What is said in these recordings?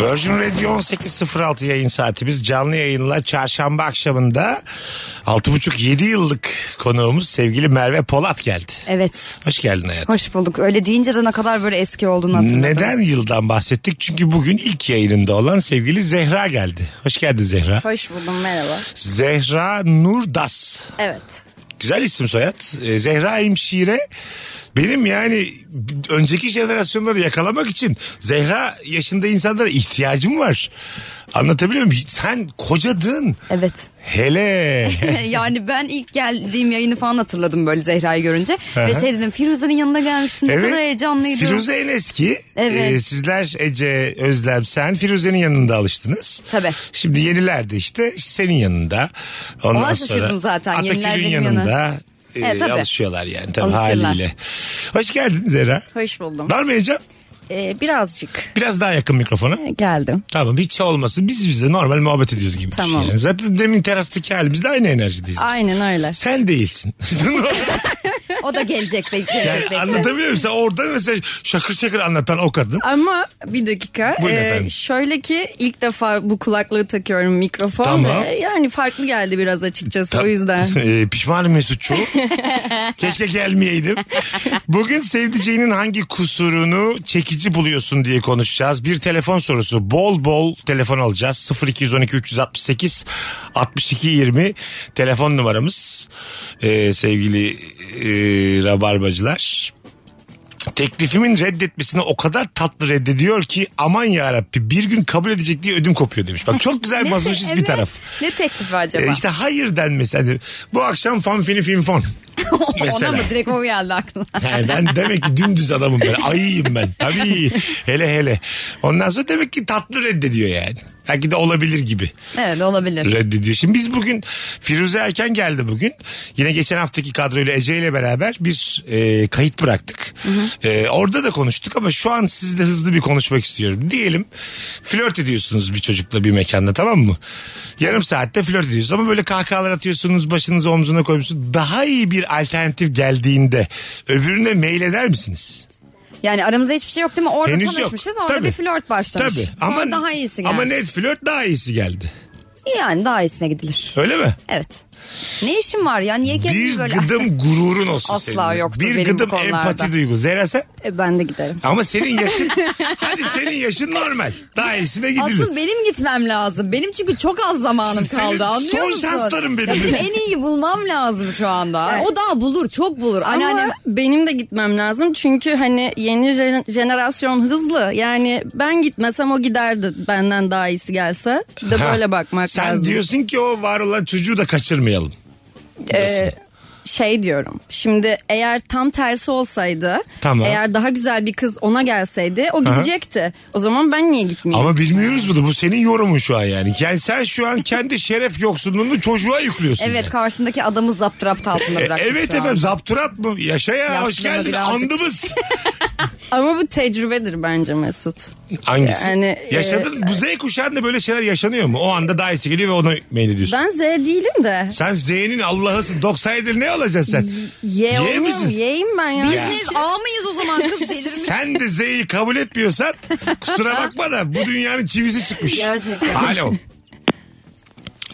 Virgin Radio 18.06 yayın saatimiz canlı yayınla çarşamba akşamında 6.5-7 yıllık konuğumuz sevgili Merve Polat geldi. Evet. Hoş geldin hayatım. Hoş bulduk. Öyle deyince de ne kadar böyle eski olduğunu hatırladım. Neden yıldan bahsettik? Çünkü bugün ilk yayınında olan sevgili Zehra geldi. Hoş geldin Zehra. Hoş buldum merhaba. Zehra Nurdas. Evet. Güzel isim soyad. Ee, Zehra Hemşire. Benim yani önceki jenerasyonları yakalamak için Zehra yaşında insanlara ihtiyacım var. Anlatabiliyor muyum? Sen kocadın. Evet. Hele. yani ben ilk geldiğim yayını falan hatırladım böyle Zehra'yı görünce. Ve şey dedim Firuze'nin yanına gelmiştim. Ne kadar heyecanlıydım. Firuze en eski. Evet. Ee, sizler Ece, Özlem, sen Firuze'nin yanında alıştınız. Tabii. Şimdi yeniler de işte, işte senin yanında. Ondan Ona şaşırdım zaten. Atakül'ün Yeniler benim yanında. E, Evet, tabii. alışıyorlar yani tabii Alışırlar. haliyle. Hoş geldin Zehra. Hoş buldum. Var mı heyecan? Ee, birazcık Biraz daha yakın mikrofona. geldim. Tamam hiç olmasın. Biz bize normal muhabbet ediyoruz gibi Tamam. düşün yani. Zaten demin terastaki halimizde aynı enerjideyiz. biz. Aynen öyle. Sen değilsin. O da gelecek bekle. yani gelecek, bekle. anlatabiliyor muyum? Sen orada mesela şakır şakır anlatan o kadın. Ama bir dakika. e, Buyurun efendim. şöyle ki ilk defa bu kulaklığı takıyorum mikrofon. Tamam. Ee, yani farklı geldi biraz açıkçası o yüzden. Ee, pişmanım Mesutçu. Keşke gelmeyeydim. Bugün sevdiceğinin hangi kusurunu çekici buluyorsun diye konuşacağız. Bir telefon sorusu. Bol bol telefon alacağız. 0212 368 62 20 telefon numaramız. Ee, sevgili e, rabarbacılar. Teklifimin reddetmesini o kadar tatlı reddediyor ki aman yarabbi bir gün kabul edecek diye ödüm kopuyor demiş. Bak çok güzel mazoşist bir Evet. taraf. Ne teklifi acaba? E, işte hayır denmesi. Hani bu akşam fan fini fin fon. mesela. Ona mı direkt o geldi aklına? Yani ben demek ki dümdüz adamım ben. Ayıyım ben. Tabii. Hele hele. Ondan sonra demek ki tatlı reddediyor yani. Belki de olabilir gibi evet olabilir. reddediyor. Şimdi biz bugün Firuze Erken geldi bugün. Yine geçen haftaki kadroyla Ece ile beraber bir e, kayıt bıraktık. E, orada da konuştuk ama şu an sizle hızlı bir konuşmak istiyorum. Diyelim flört ediyorsunuz bir çocukla bir mekanda tamam mı? Yarım saatte flört ediyorsunuz ama böyle kahkahalar atıyorsunuz başınızı omzuna koyuyorsunuz. Daha iyi bir alternatif geldiğinde öbürüne mail eder misiniz? Yani aramızda hiçbir şey yok değil mi? Orada Henüz yok. tanışmışız. Orada Tabii. bir flört başlamış. Tabii Sonra ama, daha iyisi geldi. ama net flört daha iyisi geldi. Yani daha iyisine gidilir. Öyle mi? Evet. Ne işin var ya? Niye bir kendini böyle... gıdım gururun olsun Asla senin. yoktur Bir benim bu gıdım konularda. empati duygu. Zehra sen? E, ben de giderim. Ama senin yaşın hadi senin yaşın normal. Daha iyisine gidilir. Asıl benim gitmem lazım. Benim çünkü çok az zamanım Senin kaldı anlıyor son musun? şansların benim. Ya en iyiyi bulmam lazım şu anda. O daha bulur çok bulur. Anneannem Ama benim de gitmem lazım çünkü hani yeni jen- jenerasyon hızlı. Yani ben gitmesem o giderdi benden daha iyisi gelse. Bir de Ha, böyle bakmak Sen lazım. diyorsun ki o var olan çocuğu da kaçırmayalım. Ee, şey diyorum. Şimdi eğer tam tersi olsaydı, Tamam. eğer daha güzel bir kız ona gelseydi o gidecekti. O zaman ben niye gitmeyeyim? Ama bilmiyoruz bunu. Bu senin yorumun şu an yani. Yani sen şu an kendi şeref yoksunluğunu çocuğa yüklüyorsun. evet yani. karşındaki adamı zapturapt altında E, bıraktı. evet şu an. efendim zapturat mı? Yaşa ya hoş Yaşlı mı geldin birazcık? andımız. Ama bu tecrübedir bence Mesut. Hangisi? Yani, e, Yaşadın bu Z kuşağında böyle şeyler yaşanıyor mu? O anda daha iyisi geliyor ve ona mail ediyorsun. Ben Z değilim de. Sen Z'nin Allah'ısın. 97 ne olacaksın sen? Y Y misin? olmuyor. Y'yim ben ya. Biz neyiz ağ mıyız o zaman kız delirmiş. Sen de Z'yi kabul etmiyorsan kusura bakma da bu dünyanın çivisi çıkmış. Gerçekten. Alo.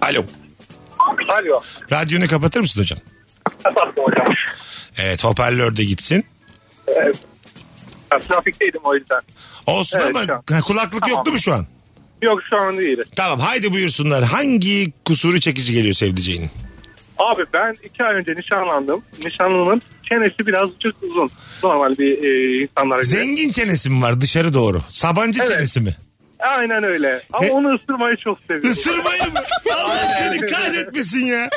Alo. Alo. Radyonu kapatır mısın hocam? Kapattım hocam. Evet hoparlör de gitsin. Evet. Ben trafikteydim o yüzden. Olsun Evet, ama şu an. Ha, kulaklık Tamam. yok değil mi şu an? Yok şu an değil. Tamam haydi buyursunlar. Hangi kusuru çekici geliyor sevdiceğinin? Abi ben iki ay önce nişanlandım. Nişanlımın çenesi birazcık uzun. Normal bir e, insanlara göre. Zengin çenesi mi var dışarı doğru? Sabancı Evet. çenesi mi? Aynen öyle. Ama He- onu ısırmayı çok seviyorum. Isırmayı mı? Allah seni kahretmesin ya.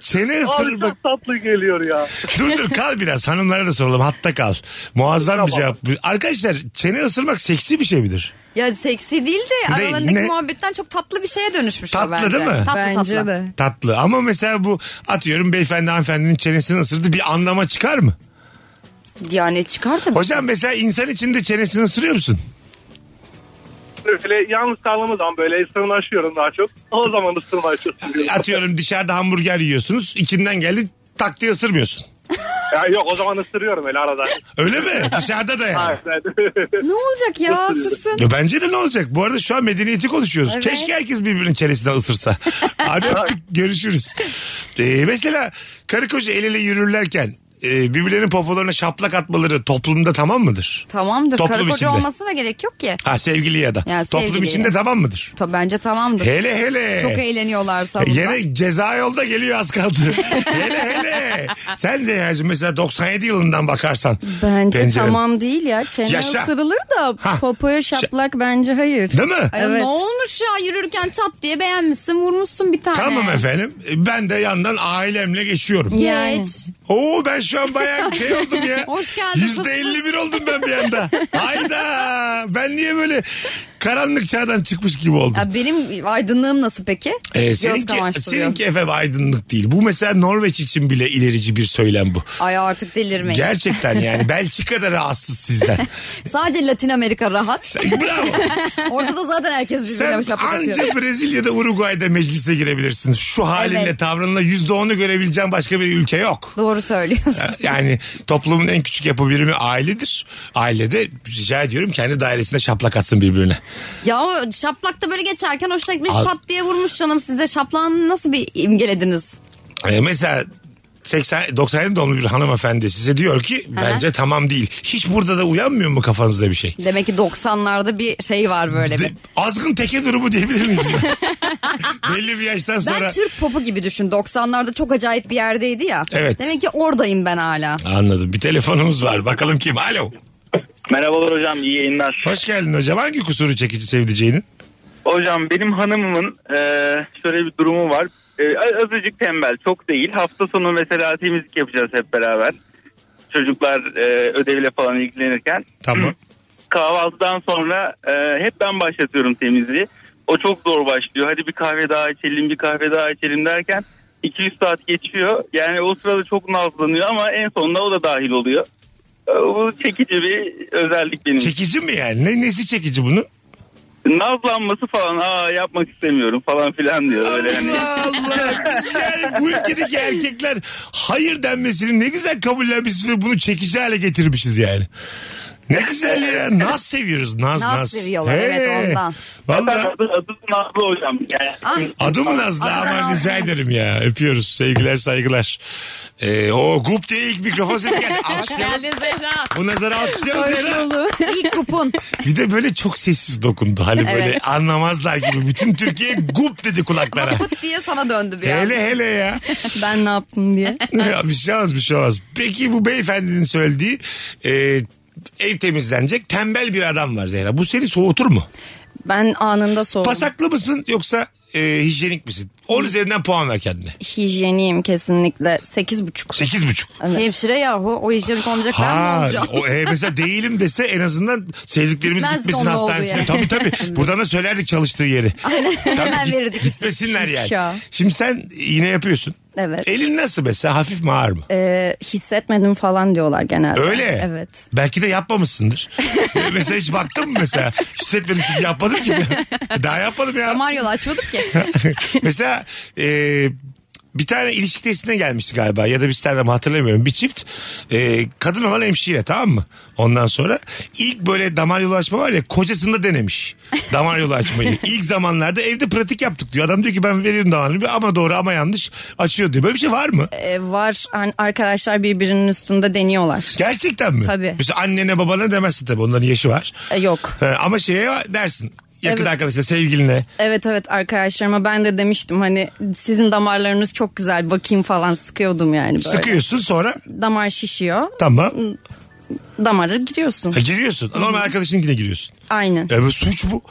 Çene Abi ısırmak. çok tatlı geliyor ya. dur dur kal biraz hanımlara da soralım hatta kal. Muazzam Tamam. bir cevap. Arkadaşlar çene ısırmak seksi bir şey midir? Ya seksi değil de Ne- aralarındaki ne? muhabbetten çok tatlı bir şeye dönüşmüş Tatlı o bence. değil mi? Tatlı Bence tatlı. de. Tatlı ama mesela bu atıyorum beyefendi hanımefendinin çenesini ısırdı bir anlama çıkar mı? Yani çıkar tabii. Hocam mesela insan içinde çenesini ısırıyor musun? Böyle yalnız kaldığımız zaman böyle sırnaşıyorum daha çok. O zaman ısırmaşıyorsun diye. Atıyorum dışarıda hamburger yiyorsunuz. İçinden geldi tak diye ısırmıyorsun. Ya yok o zaman ısırıyorum öyle arada. Öyle mi? Dışarıda da yani. Evet. Ne olacak ya ısırsın. Ya bence de ne olacak? Bu arada şu an medeniyeti konuşuyoruz. Evet. Keşke herkes birbirinin çenesinden ısırsa. Hadi öptük, görüşürüz. Ee, mesela karı koca el ele yürürlerken e, birbirlerinin popolarına şaplak atmaları toplumda tamam mıdır? Tamamdır. Toplum Karı koca içinde. olması da gerek yok ki. Ha sevgili ya da. Ya, Toplum sevgili. içinde tamam mıdır? Ta, bence tamamdır. Hele hele. E, Çok eğleniyorlar salonda. Yine ceza yolda geliyor az kaldı. hele hele. Sen Zeynacığım mesela 97 yılından bakarsan. Bence pencerenin. tamam değil ya. Çene Yaşa. ısırılır da Ha. popoya şaplak bence hayır. Değil mi? Ay, Evet. Ne olmuş ya yürürken çat diye beğenmişsin vurmuşsun bir tane. Tamam efendim. E, Ben de yandan ailemle geçiyorum. Yani. Geç. Oo ben şu an bayağı bir şey oldum ya. Hoş geldin, Yüzde elli bir oldum ben bir anda. Hayda. Ben niye böyle karanlık çağdan çıkmış gibi oldum? Ya benim aydınlığım nasıl peki? Ee, Göz seninki, kamaştırıyor. seninki efendim aydınlık değil. Bu mesela Norveç için bile ilerici bir söylem bu. Ay artık delirmeyin. Gerçekten yani Belçika'da rahatsız sizden. Sadece Latin Amerika rahat. Sen- Bravo. Orada da zaten herkes birbirine Sen şapak atıyor. anca Brezilya'da Uruguay'da meclise girebilirsin. Şu halinle Evet. tavrınla yüzde onu görebileceğin başka bir ülke yok. Doğru söylüyorsun. Yani toplumun en küçük yapı birimi ailedir. Ailede rica ediyorum kendi dairesinde şaplak atsın birbirine. ya o şaplakta böyle geçerken hoşuna gitmiş Al- pat diye vurmuş canım. Siz de şaplağını nasıl bir imgelediniz? Ee, mesela 80, 97 doğumlu bir hanımefendi size diyor ki bence tamam değil. Hiç burada da uyanmıyor mu kafanızda bir şey? Demek ki 90'larda bir şey var böyle De- bir. azgın teke durumu diyebilir miyiz? Belli bir yaştan Ben sonra. Türk popu gibi düşün. 90'larda çok acayip bir yerdeydi ya. Evet. Demek ki oradayım ben hala. Anladım. Bir telefonumuz var. Bakalım kim? Alo. Merhabalar hocam iyi yayınlar. Hoş geldin hocam. Hangi kusuru çekici sevdiceğinin? Hocam benim hanımımın e, şöyle bir durumu var. E, azıcık tembel çok değil. Hafta sonu mesela temizlik yapacağız hep beraber. Çocuklar e, ödevle falan ilgilenirken. Tamam. Kahvaltıdan sonra e, hep ben başlatıyorum temizliği. O çok zor başlıyor. Hadi bir kahve daha içelim bir kahve daha içelim derken 200 saat geçiyor. Yani o sırada çok nazlanıyor ama en sonunda o da dahil oluyor. E, bu çekici bir özellik benim için. Çekici mi yani? Ne, nesi çekici bunu? nazlanması falan aa yapmak istemiyorum falan filan diyor öyle hani. Allah Allah. Biz yani bu ülkedeki erkekler hayır denmesini ne güzel kabullenmişiz ve bunu çekici hale getirmişiz yani. Ne güzel ya. Naz seviyoruz. Naz naz. Naz seviyorlar, evet, ondan. Zaten Valla adı, adı Nazlı hocam. Yani Ah, adı mı Nazlı Adı da aman Naz, rica evet. ederim ya. Öpüyoruz. Sevgiler saygılar. Ee, o gup diye ilk mikrofon sesi geldi. Alkışlayalım. Zehra. Bu nazara alkışlayalım. Zehra. ilk kupun. Bir de böyle çok sessiz dokundu. Hani böyle Evet. anlamazlar gibi. Bütün Türkiye gup dedi kulaklara. Pıt diye sana döndü bir an. hele hele ya. Ben ne yaptım diye. Ya bir şey olmaz bir şey olmaz. Peki bu beyefendinin söylediği e, ev temizlenecek tembel bir adam var Zehra. Bu seni soğutur mu? Ben anında soğudum. Pasaklı mısın yoksa e, hijyenik misin? 10 üzerinden puan ver kendine. Hijyeniyim kesinlikle. Sekiz buçuk. 8,5. Hemşire yahu o hijyenik olmayacak ben mi Ha, olacağım? o, e, mesela değilim dese en azından sevdiklerimiz Gitmezdik gitmesin onun olduğu hastanesine. yere. Tabii tabii. Buradan da söylerdik çalıştığı yeri. Hemen git- verirdik. Gitmesinler yani. İfşa. Şimdi sen iğne yapıyorsun. Evet. Elin nasıl mesela hafif mi ağır mı? Ee, hissetmedim falan diyorlar genelde. Öyle. Evet. Belki de yapmamışsındır. mesela hiç baktın mı mesela? Hissetmedim çünkü yapmadım ki. Daha yapmadım ya. Damar yolu açmadık ki. mesela e, bir tane ilişki testine gelmişti galiba ya da bir tane hatırlamıyorum. Bir çift e, kadın olan hemşire tamam mı? Ondan sonra ilk böyle damar yolu açma var ya kocasında denemiş. Damar yolu açmayı. ilk zamanlarda evde pratik yaptık diyor. Adam diyor ki ben veriyorum damar yolu ama doğru ama yanlış açıyor diyor. Böyle bir şey var mı? Ee, var hani arkadaşlar birbirinin üstünde deniyorlar. Gerçekten mi? Tabii. Mesela annene babana demezsin tabii onların yaşı var. Ee, yok. He, ama şeye dersin. Yakın Evet. arkadaşına, sevgiline. Evet evet arkadaşlarıma ben de demiştim hani sizin damarlarınız çok güzel bakayım falan sıkıyordum yani böyle. Sıkıyorsun sonra Damar şişiyor. tamam. Damara giriyorsun. Ha, giriyorsun. Normal arkadaşınkine giriyorsun. Aynen. E bu suç bu.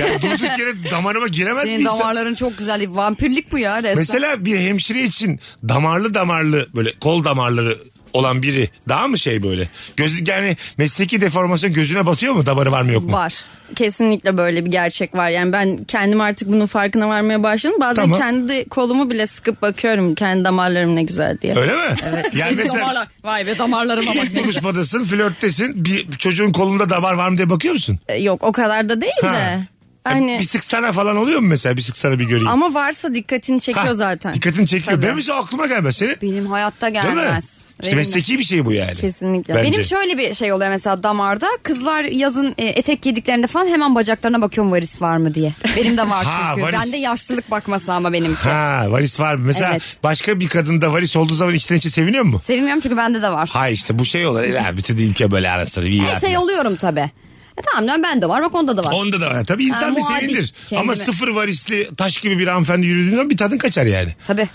Ya durduk yere damarıma giremez mi Senin insan? damarların çok güzel. Vampirlik bu ya resmen. Mesela bir hemşire için damarlı damarlı böyle kol damarları olan biri daha mı şey böyle? Göz, yani mesleki deformasyon gözüne batıyor mu? Damarı var mı yok mu? Var. Kesinlikle böyle bir gerçek var. Yani ben kendim artık bunun farkına varmaya başladım. Bazen Tamam. kendi kolumu bile sıkıp bakıyorum kendi damarlarım ne güzel diye. Öyle mi? Yani mesela Damarlar. Vay be damarlarıma bak. ilk buluşmadasın, flörttesin. Bir çocuğun kolunda damar var mı diye bakıyor musun? Ee, Yok o E, kadar da değil Ha. E, de. Hani Bir sıksana falan oluyor mu mesela? Bir sıksana bir göreyim. ama varsa dikkatini çekiyor Ha, zaten. Dikkatini çekiyor. Tabii. Ben mesela aklıma gelmez. Senin Benim hayatta değil mi? gelmez. İşte Benim de. mesleki bir şey bu yani. Kesinlikle. Bence. Benim şöyle bir şey oluyor mesela damarda. Kızlar yazın e, etek giydiklerinde falan hemen bacaklarına bakıyorum varis var mı diye. Benim de var Ha, çünkü. varis. Bende yaşlılık bakması ama benimki. Ha varis var mı? Mesela Evet. başka bir kadında varis olduğu zaman içten içe seviniyor mu? Sevmiyorum çünkü bende de var. Ha işte bu şey olur. Ya, bütün ülke böyle arasını. iyi Her şey yapma. oluyorum tabi. E, tamam lan bende var bak onda da var. Onda da var. Tabii insan Ha, bir muadil sevinir. kendime. Ama sıfır varisli taş gibi bir hanımefendi yürüdüğünden bir tadın kaçar yani. Tabi.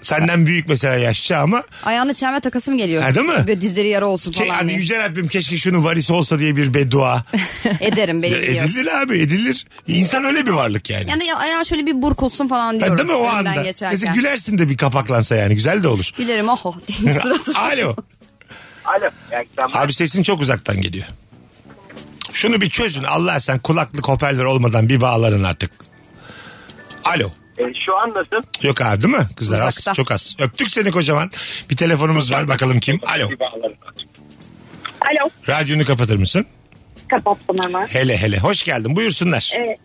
Senden büyük mesela yaşça ama Ayağını çelme takasım geliyor. Ha, değil mi? Böyle dizleri yara olsun şey, falan hani diye. Yüce Rabbim keşke şunun varisi olsa diye bir beddua. Ederim beni Ya biliyorsun. edilir abi edilir. İnsan öyle bir varlık yani. Yani ya- ayağı şöyle bir burkulsun falan Ha, diyorum. değil mi o önümden anda? Geçerken. Mesela gülersin de bir kapaklansa yani güzel de olur. Gülerim oho diye suratı. Alo. Alo. Abi sesin çok uzaktan geliyor. Şunu bir çözün Allah sen kulaklık hoparlör olmadan bir bağların artık. Alo. E, şu an nasıl? Yok abi değil mi? Kızlar Uzakta. az çok az. Öptük seni kocaman. Bir telefonumuz var bakalım kim? Alo. Alo. Radyonu kapatır mısın? Kapattım hemen. Hele hele. Hoş geldin buyursunlar. Ee,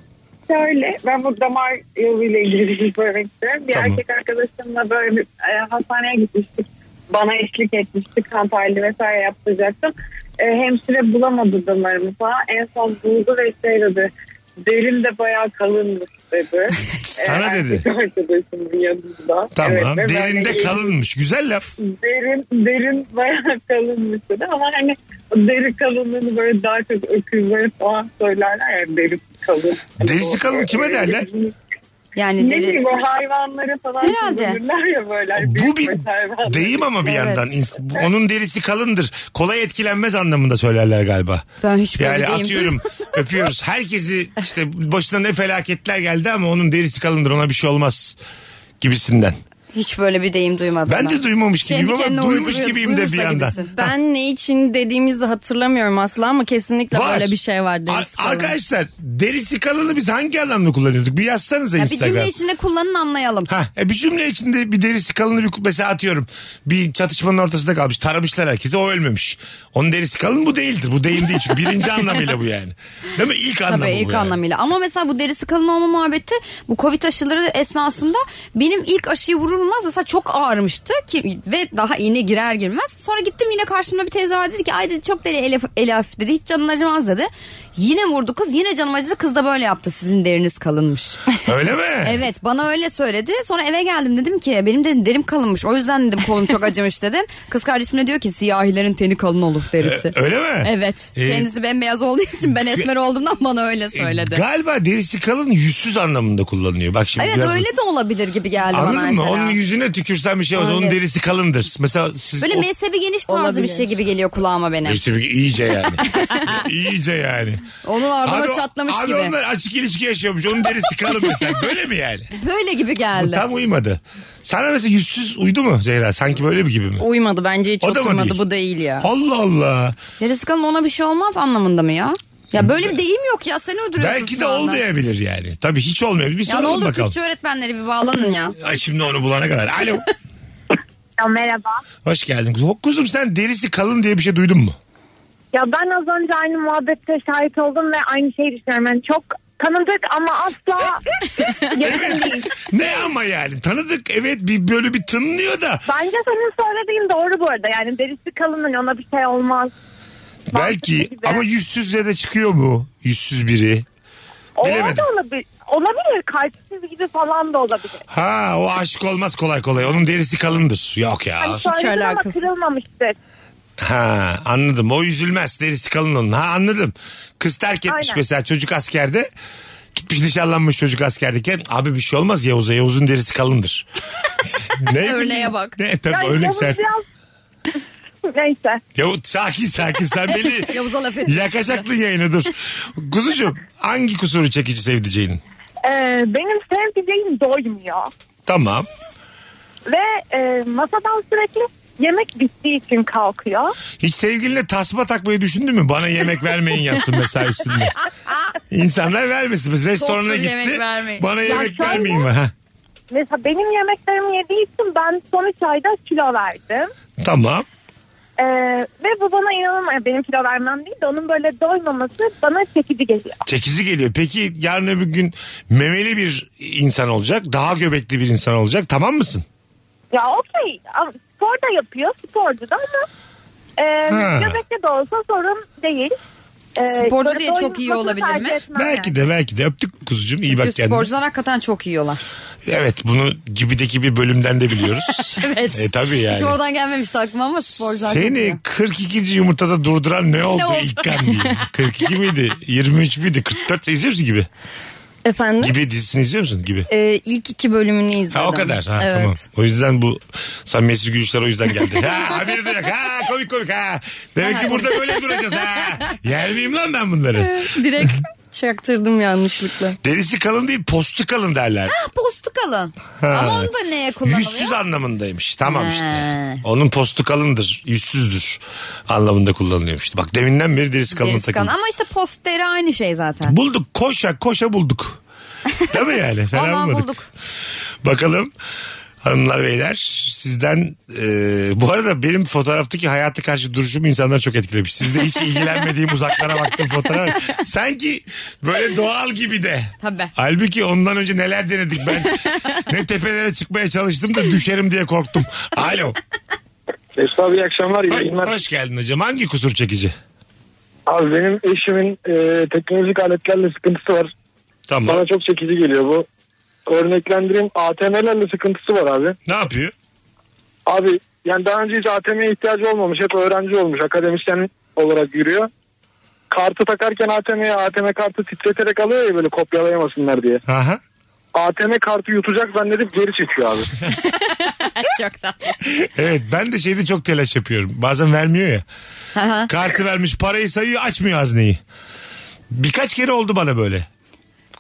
şöyle ben bu damar yoluyla ilgili bir şey söylemek istiyorum. Bir Tamam. erkek arkadaşımla böyle bir, e, hastaneye gitmiştik. Bana eşlik etmişti. Kan tahlili vesaire yaptıracaktım. E, hemşire bulamadı damarımı falan. En son buldu ve şey dedi. Derin de bayağı kalınmış dedi. E, Sana erkek dedi. arkadaşımın yanında. Tamam. Evet, ve Derinde ben de- kalınmış. Güzel laf. derin derin bayağı kalınmış dedi ama hani o deri kalınlığını böyle daha çok öküzleri falan söylerler ya deri kalın. Hani Derisi o- kalın kime derler? Yani Ne bileyim deriz. o hayvanları falan Herhalde. kullanırlar ya böyle. hani Bu büyük bir baş hayvanları. deyim ama bir Evet. yandan. İns- bu- Onun derisi kalındır. Kolay etkilenmez anlamında söylerler galiba. Ben hiç böyle Yani değilim. atıyorum öpüyoruz. Herkesi işte başına ne felaketler geldi ama onun derisi kalındır ona bir şey olmaz gibisinden. Hiç böyle bir deyim duymadım. Ben de duymamış gibiyim ama duymuş uyduruyor- gibiyim de duymuş bir da yandan. gibisin. Ben ne için dediğimizi hatırlamıyorum asla ama kesinlikle Var. böyle bir şey var deniz Ar- kalın. Arkadaşlar derisi kalını biz hangi anlamda kullanıyorduk? Bir yazsanıza Ya bir Instagram. cümle içinde kullanın anlayalım. Ha, e bir cümle içinde bir derisi kalını bir mesela atıyorum. Bir çatışmanın ortasında kalmış. Taramışlar herkese o ölmemiş. Onun derisi kalın bu değildir. Bu deyim değil çünkü birinci anlamıyla bu yani. Değil mi? İlk anlamı Tabii bu ilk yani. anlamıyla. Ama mesela bu derisi kalın olma muhabbeti bu Covid aşıları esnasında benim ilk aşıyı vurulmaz mesela çok ağrımıştı ki ve daha iğne girer girmez. Sonra gittim yine karşımda bir teyze var dedi ki ay dedi çok deli elaf, elaf dedi hiç canın acımaz dedi. Yine vurdu kız yine canım acıdı kız da böyle yaptı sizin deriniz kalınmış. Öyle mi? Evet bana öyle söyledi. Sonra eve geldim dedim ki benim de derim kalınmış. O yüzden dedim kolum çok acımış dedim. Kız kardeşim de diyor ki siyahilerin teni kalın olur derisi. Öyle mi? Evet. Ee, Kendisi bembeyaz olduğu için ben esmer olduğumdan bana öyle söyledi. E, Galiba derisi kalın yüzsüz anlamında kullanılıyor. Bak şimdi Evet biraz- öyle de olabilir gibi geldi bana Anladın mı? mesela. Onun yüzüne tükürsen bir şey olmaz. Onun Öyle. derisi kalındır. Mesela siz Böyle o- mezhebi geniş tarzı bir Olabilir. şey gibi geliyor kulağıma benim. İşte bir- iyice yani. iyice yani. Onun Abi ardına o- çatlamış abi gibi. onlar açık ilişki yaşıyormuş. Onun derisi kalın mesela. Böyle mi yani? Böyle gibi Bu geldi. tam uymadı. Sana mesela yüzsüz uydu mu Zehra? Sanki böyle bir gibi mi? Uymadı bence hiç O da mı oturmadı değil? bu değil ya. Allah Allah. Derisi kalın ona bir şey olmaz anlamında mı ya? Ya böyle bir deyim yok ya seni öldürüyorsun Belki şu de anda. olmayabilir yani. Tabii hiç olmayabilir. Bir Ya ne soralım olur bakalım. Türkçe öğretmenleri bir bağlanın ya. Ay şimdi onu bulana kadar. Alo. Ya merhaba. Hoş geldin. Kuzum sen derisi kalın diye bir şey duydun mu? Ya ben az önce aynı muhabbette şahit oldum ve aynı şeyi düşünüyorum. Yani çok tanıdık ama asla yakın değil. Ne ama yani tanıdık evet bir böyle bir tınlıyor da Bence senin söylediğin doğru bu arada. Yani derisi kalın hani ona bir şey olmaz. belki gibi. ama yüzsüzle de çıkıyor mu? Yüzsüz biri. O Bilemedim. da olabilir. Olabilir. Kalpsiz gibi falan da olabilir. Ha o aşık olmaz kolay kolay onun derisi kalındır. Yok ya. Hani söyledim ama alakasız. kırılmamıştır. Ha anladım o üzülmez derisi kalın onun. Ha anladım. Kız terk etmiş Aynen. mesela çocuk askerde. Gitmiş nişanlanmış çocuk askerdeyken abi bir şey olmaz Yavuz'a Yavuz'un derisi kalındır. ne bileyim? Örneğe bak. Ne tabii Yani örnek Yavuz sen. biraz- Neyse. Yavuz sakin sakin sen beni Yavuz'a laf et. Yakacaktın yayını dur. Kuzucuğum hangi kusuru çekici sevdiceğinin? Ee, benim sevdiceğim doymuyor. Tamam. Ve e, masadan sürekli yemek bittiği için kalkıyor. Hiç sevgiline tasma takmayı düşündün mü? Bana yemek vermeyin yazsın mesela üstünde. İnsanlar vermesin. Biz restorana Doktor gitti. yemek vermeyin. Bana Ya yemek şöyle- vermeyin var. Ha, Mesela benim yemeklerimi yediği için ben son üç ayda kilo verdim. tamam. Ee, ve bu bana inanılmaz. Benim kilo vermem değil de onun böyle doymaması bana çekici geliyor. Çekici geliyor. Peki yarın öbür gün memeli bir insan olacak. Daha göbekli bir insan olacak. Tamam mısın? Ya okey ama spor da yapıyor sporcu da ama e, Ha. göbekte de olsa sorun değil. E, Sporcu böyle diye çok iyi doymasını olabilir tercih mi? etmem Belki yani. de belki de. Öptük kuzucuğum. iyi bak Çünkü kendine. sporcular hakikaten çok yiyorlar. Evet bunu gibideki bir bölümden de biliyoruz. Evet. E tabii yani. Hiç oradan gelmemişti aklıma ama sporcular çok Seni yiyor. 42. yumurtada durduran ne oldu, oldu? İlkan diye. 42 miydi? 23 müydü? 44 sen izliyor musun gibi? Efendim? Gibi dizisini izliyor musun gibi? Ee, ilk iki bölümünü izledim. Ha o kadar. Ha evet. tamam. O yüzden bu samimiyetsiz gülüşler o yüzden geldi. Ha haberi de yok. Ha komik komik ha. Demek ki burada böyle duracağız ha. Yer miyim lan ben bunları? Direkt çaktırdım yanlışlıkla. Derisi kalın değil postu kalın derler. Postu kalın. Ha. Ama onu da neye Yüzsüz kullanılıyor? anlamındaymış. Tamam işte. Ha. Onun postu kalındır. Yüzsüzdür anlamında kullanılıyormuş. Bak deminden beri derisi kalın Gerisi kalın. takıldı. Ama işte post deri aynı şey zaten. Bulduk koşa koşa bulduk. Değil mi yani? Fena Vallahi bulmadık. bulduk. Bakalım hanımlar beyler sizden e, bu arada benim fotoğraftaki hayata karşı duruşum insanlar çok etkilemiş. Sizde hiç ilgilenmediğim uzaklara baktığım fotoğraf. Sanki böyle doğal gibi de. Tabii. Halbuki ondan önce neler denedik ben. ne tepelere çıkmaya çalıştım da düşerim diye korktum. Alo. Mesut abi iyi akşamlar. iyi Hoş, yayınlar. hoş geldin hocam. Hangi kusur çekici? Abi benim eşimin e, teknolojik aletlerle sıkıntısı var. Tamam. Bana çok çekici geliyor bu. Örneklendireyim ATM'lerle sıkıntısı var abi. Ne yapıyor? Abi yani daha önce hiç ATM'ye ihtiyacı olmamış. Hep öğrenci olmuş. Akademisyen olarak yürüyor. Kartı takarken ATM'ye ATM kartı titreterek alıyor ya böyle kopyalayamasınlar diye. Aha. ATM kartı yutacak zannedip geri çekiyor abi. çok tatlı. Evet ben de şeyde çok telaş yapıyorum. Bazen vermiyor ya. Aha. Kartı vermiş parayı sayıyor açmıyor hazneyi. Birkaç kere oldu bana böyle.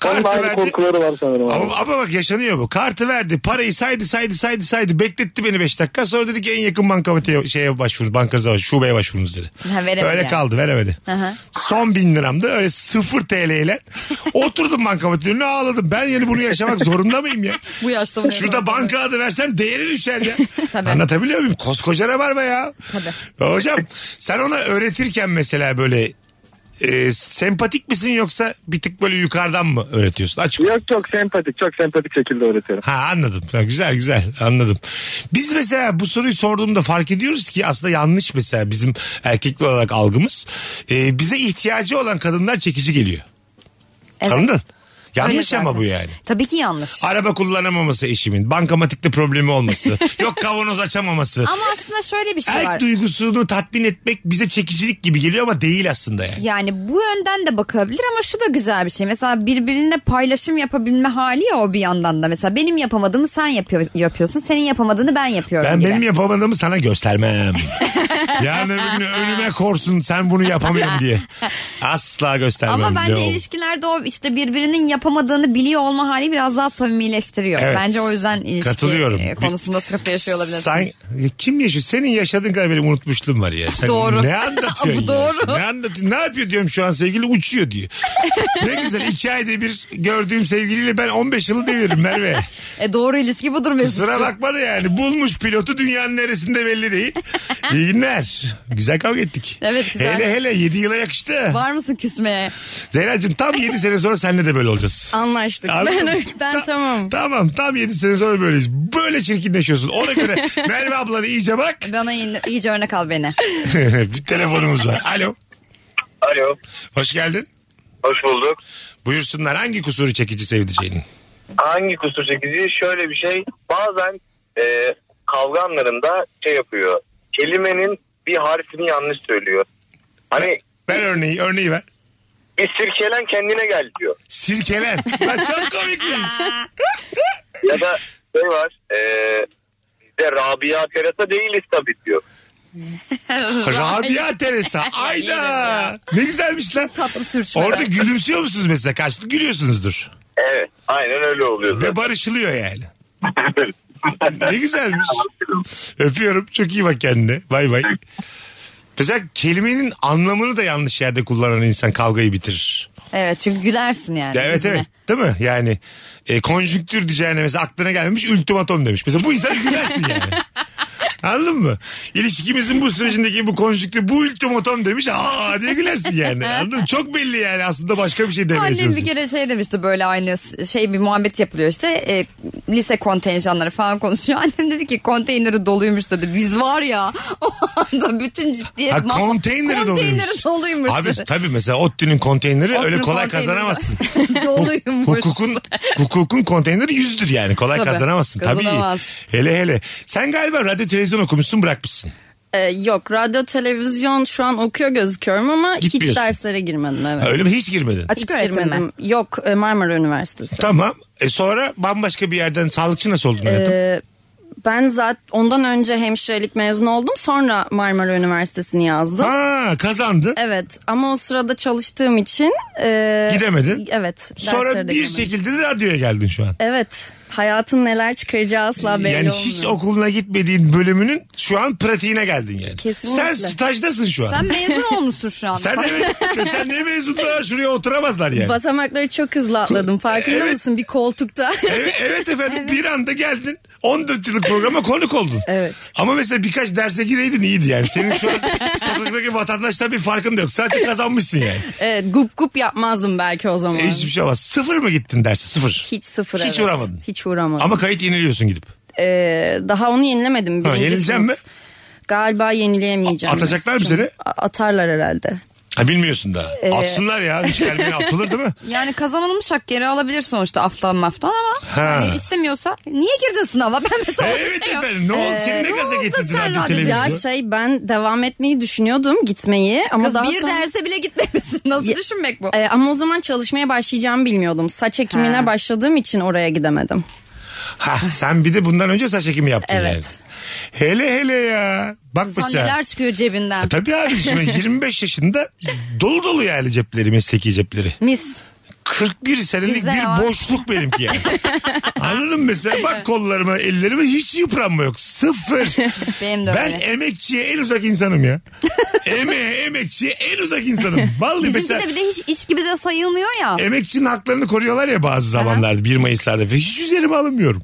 Onun da Kartı aynı verdi. korkuları var sanırım abi. Ama, ama bak yaşanıyor bu. Kartı verdi parayı saydı saydı saydı saydı. Bekletti beni 5 dakika. Sonra dedi ki en yakın bankamatiğe şeye başvurun. Bankanıza başvurun. Şubeye başvurunuz dedi. Ha, veremedi öyle yani. kaldı veremedi. Aha. Son bin liramdı. Öyle sıfır TL ile oturdum bankamatiğin önüne ağladım. Ben yani bunu yaşamak zorunda mıyım ya? Bu yaşta bunu Şurada yapamam. banka adı versem değeri düşer ya. Tabii. Anlatabiliyor muyum? Koskoca ne var be ya? Hocam sen ona öğretirken mesela böyle e, sempatik misin yoksa bir tık böyle yukarıdan mı öğretiyorsun? Açık. Yok çok sempatik çok sempatik şekilde öğretiyorum. Ha anladım. Ha, güzel güzel anladım. Biz mesela bu soruyu sorduğumda fark ediyoruz ki aslında yanlış mesela bizim erkekli olarak algımız. E, bize ihtiyacı olan kadınlar çekici geliyor. Evet. Anladın? Öyle Yanlış ama zaten. bu yani. Tabii ki yanlış. Araba kullanamaması eşimin. Bankamatikte problemi olması. yok kavanoz açamaması. Ama aslında şöyle bir şey Erk var. duygusunu tatmin etmek bize çekicilik gibi geliyor ama değil aslında yani. Yani bu yönden de bakılabilir ama şu da güzel bir şey. Mesela birbirine paylaşım yapabilme hali ya o bir yandan da. Mesela benim yapamadığımı sen yapıyor, yapıyorsun. Senin yapamadığını ben yapıyorum Ben gibi. benim yapamadığımı sana göstermem. yani öbür gün önüme korsun sen bunu yapamıyorum diye. Asla göstermem. ama Ne bence olur. ilişkilerde o işte birbirinin yapamadığını biliyor olma hali biraz daha samimileştiriyor. Evet. Bence o yüzden ilişki Katılıyorum. e, konusunda sıkıntı yaşıyor olabilirsin. Sen, kim yaşıyor? Senin yaşadığın kadar benim unutmuşluğum var ya. Sen Doğru. Ne anlatıyorsun? Bu doğru. Ya? Ne anlatıyorsun? Ne yapıyor diyorum şu an sevgili uçuyor diyor. ne güzel iki ayda bir gördüğüm sevgiliyle ben 15 yılı deviririm Merve. E doğru ilişki budur Mesut'cum. Kusura bakma da yani bulmuş pilotu dünyanın neresinde belli değil. İyi günler. Güzel kavga ettik. Evet, güzel. Hele hele 7 yıla yakıştı. Var mısın küsmeye? Zeynacığım tam 7 sene sonra seninle de böyle olacağız. Anlaştık. Anladın mı? Ben, ben Ta- tamam. Tamam tam 7 sene sonra böyleyiz. Böyle çirkinleşiyorsun. Ona göre Merve ablanı iyice bak. Bana in- iyice örnek al beni. bir telefonumuz var. Alo. Alo. Hoş geldin. Hoş bulduk. Buyursunlar hangi kusuru çekici sevdiceğinin? hangi kusur çekici? Şöyle bir şey. Bazen e, kavga anlarında şey yapıyor. Kelimenin bir harfini yanlış söylüyor. Hani Ver örneği, örneği ver. bir sirkelen kendine gel diyor. Sirkelen. Lan çok komikmiş. Ya da şey var. E, biz de Rabia Terasa değiliz tabii diyor. Rabia Teresa. Ayda. Ne güzelmiş lan. Tatlı sürçmeler. Orada gülümsüyor musunuz mesela? Karşılıklı gülüyorsunuzdur. Evet. Aynen öyle oluyor. Ve barışılıyor yani. Ne güzelmiş. Öpüyorum. Çok iyi bak kendine. Bay bay. Mesela kelimenin anlamını da yanlış yerde kullanan insan kavgayı bitirir. Evet çünkü gülersin yani. Ya evet yüzüne. evet. Değil mi? Yani e, konjüktür diyeceğine mesela aklına gelmemiş ultimatom demiş. Mesela bu insan gülersin yani. Anladın mı? İlişkimizin bu sürecindeki bu konjüktür bu ultimatom demiş. Aa diye gülersin yani. Anladın mı? Çok belli yani aslında başka bir şey demeye Annem bir çalışıyor. kere şey demişti böyle aynı s- şey bir muhabbet yapılıyor işte e, lise kontenjanları falan konuşuyor. Annem dedi ki konteyneri doluymuş dedi. Biz var ya o anda bütün ciddiyet. Ha, mahv- konteyneri doluymuş. Konteyneri doluymuş. Abi tabii mesela ODTÜ'nün konteyneri Oturun öyle kolay konteyneri. kazanamazsın. doluymuş. Hukukun hukukun konteyneri yüzdür yani. Kolay Tabii. kazanamazsın. Kazanamaz. Tabii. Hele hele. Sen galiba radyo televizyon okumuşsun bırakmışsın. Ee, yok radyo televizyon şu an okuyor gözüküyorum ama hiç Gitmiyorsun. derslere girmedim evet. Ha, Öyle mi? Hiç girmedin. Açık Hiç öğretim mi? girmedim. Yok e, Marmara Üniversitesi. Tamam. E sonra bambaşka bir yerden sağlıkçı nasıl oldun hayatım? Ee, ben zaten ondan önce hemşirelik mezun oldum. Sonra Marmara Üniversitesi'ni yazdım. ha kazandın. Evet ama o sırada çalıştığım için e, Gidemedin. Evet. derslere sonra de bir şey- giremedim. şekilde de radyoya geldin şu an. Evet. Hayatın neler çıkaracağı asla belli yani olmuyor. hiç okuluna gitmediğin bölümünün şu an pratiğine geldin yani. Kesinlikle. Sen stajdasın şu an. Sen Sen, mezun olmuşsun şu anda. Bak, evet, sen ne mezunlar şuraya oturamazlar yani. Basamakları çok hızlı atladım. Farkında Evet. mısın bir koltukta? Evet, evet efendim bir anda geldin 14 yıllık programa konuk oldun. Evet. Ama mesela birkaç derse gireydin iyiydi yani. Senin şu an sokaktaki vatandaştan bir farkın da yok. Sadece kazanmışsın yani. evet gup gup yapmazdım belki o zaman. E, hiçbir şey olmaz. Sıfır mı gittin derse? Sıfır. Hiç sıfır Hiç evet. uğramadın. Hiç uğramadım. Ama kayıt yeniliyorsun gidip. Ee, daha onu yenilemedim. Ha, Birinci yenileceğim sınıf. Galiba yenileyemeyeceğim. A- atacaklar mı Mesut'cum. seni? A- Atarlar herhalde. Ha bilmiyorsun daha. Ee, Atsınlar ya. Hiç kalbine atılır değil mi? Yani kazanılmış hak geri alabilir sonuçta aftan maftan ama Ha. hani istemiyorsa niye girdin sınava ben mesela öyle evet şey yok. efendim. Ne oldu? Seni ne ne gaza oldu getirdin sen radyo radyo- Ya televizyon? şey ben devam etmeyi düşünüyordum gitmeyi ama Kız daha bir sonra... derse bile gitmemişsin nasıl Ya- düşünmek bu? Ee, ama o zaman çalışmaya başlayacağımı bilmiyordum. Saç ekimine Ha. başladığım için oraya gidemedim. Ha, sen bir de bundan önce saç ekimi yaptın Evet. yani. Hele hele ya. Bak Sen mesela. E, neler çıkıyor cebinden? Tabii abi şimdi 25 yaşında dolu dolu yani cepleri mesleki cepleri. Mis. 41 senelik Bizde bir var. boşluk benimki yani. Anladın mı mesela bak kollarıma ellerime hiç yıpranma yok. Sıfır. Benim de ben öyle. emekçiye en uzak insanım ya. Emeğe emekçiye en uzak insanım. Vallahi Bizimki mesela de bir de hiç iş gibi de sayılmıyor ya. emekçinin haklarını koruyorlar ya bazı zamanlarda 1 Mayıs'larda falan. Hiç üzerime alınmıyorum.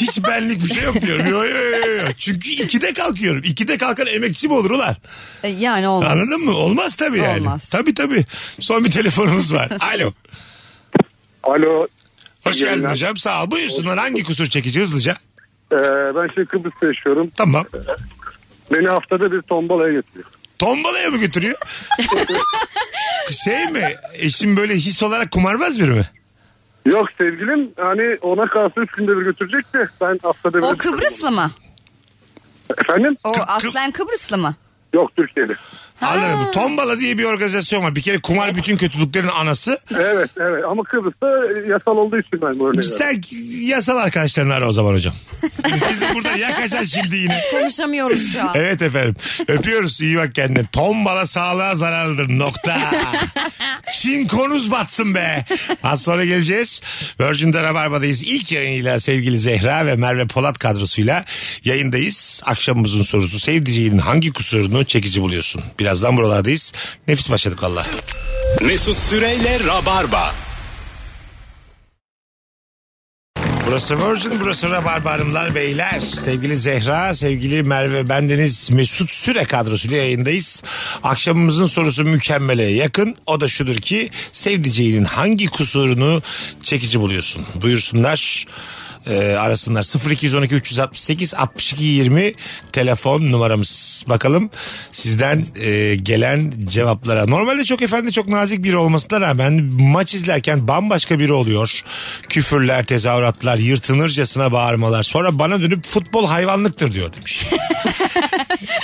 Hiç benlik bir şey yok diyorum. Yo, yo, yo, yo. Çünkü 2'de kalkıyorum. 2'de kalkan emekçi mi olur ulan? E, Yani olmaz. Anladın mı? Olmaz tabii yani. Olmaz. Tabii tabii. Son bir telefonumuz var. Alo. Alo. Hoş İyi geldin yayınlar. hocam. Sağ ol. Buyursunlar hangi kusur çekici hızlıca? Ee, ben şimdi Kıbrıs'ta yaşıyorum. Tamam. Beni haftada bir tombalaya getiriyor. Tombalaya mı götürüyor? şey mi? Eşim böyle his olarak kumarbaz biri mi? Yok sevgilim hani ona kalsa üç günde bir götürecek de ben haftada bir... O Kıbrıslı mı? Efendim? O Kı- aslen Kıbrıslı mı? Yok Türkiye'de. Anladın mı? Tombala diye bir organizasyon var. Bir kere kumar bütün kötülüklerin anası. Evet evet ama Kıbrıs'ta e, yasal olduğu için ben bu örneği Sen verdim. yasal arkadaşlarını ara o zaman hocam. Bizi burada yakacaksın şimdi yine. Konuşamıyoruz şu an. Evet efendim. Öpüyoruz. iyi bak kendine. Tombala sağlığa zararlıdır. Nokta. Çin konuz batsın be. Az sonra geleceğiz. Virgin'de Rabarba'dayız. İlk yayınıyla sevgili Zehra ve Merve Polat kadrosuyla yayındayız. Akşamımızın sorusu sevdiceğinin hangi kusurunu çekici buluyorsun? Birazdan buralardayız. Nefis başladık valla. Mesut Süreyle Rabarba. Burası Virgin, burası Rabarba Hanımlar Beyler. Sevgili Zehra, sevgili Merve, bendeniz Mesut Süre kadrosuyla yayındayız. Akşamımızın sorusu mükemmele yakın. O da şudur ki sevdiceğinin hangi kusurunu çekici buluyorsun? Buyursunlar. e, arasınlar 0212 368 62 20 telefon numaramız bakalım sizden e, gelen cevaplara normalde çok efendi çok nazik biri olmasına rağmen maç izlerken bambaşka biri oluyor küfürler tezahüratlar yırtınırcasına bağırmalar sonra bana dönüp futbol hayvanlıktır diyor demiş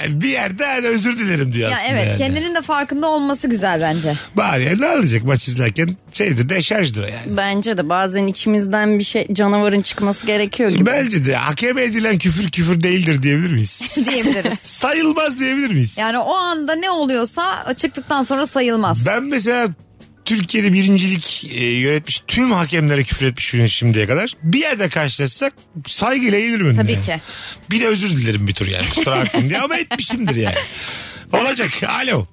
Yani bir yerde hani özür dilerim diyor Ya aslında evet yani. kendinin de farkında olması güzel bence. bari ya ne alacak maç izlerken şeydir deşarjdır yani Bence de bazen içimizden bir şey canavarın çıkması gerekiyor gibi. Bence de hakeme edilen küfür küfür değildir diyebilir miyiz? diyebiliriz. Sayılmaz diyebilir miyiz? Yani o anda ne oluyorsa çıktıktan sonra sayılmaz. Ben mesela Türkiye'de birincilik e, yönetmiş tüm hakemlere küfür etmiş biriyim şimdiye kadar. Bir yerde karşılaşsak saygıyla eğilirim önüne. Tabii yani. ki. Bir de özür dilerim bir tur yani kusura bakmayın diye ama etmişimdir yani. Olacak. Alo.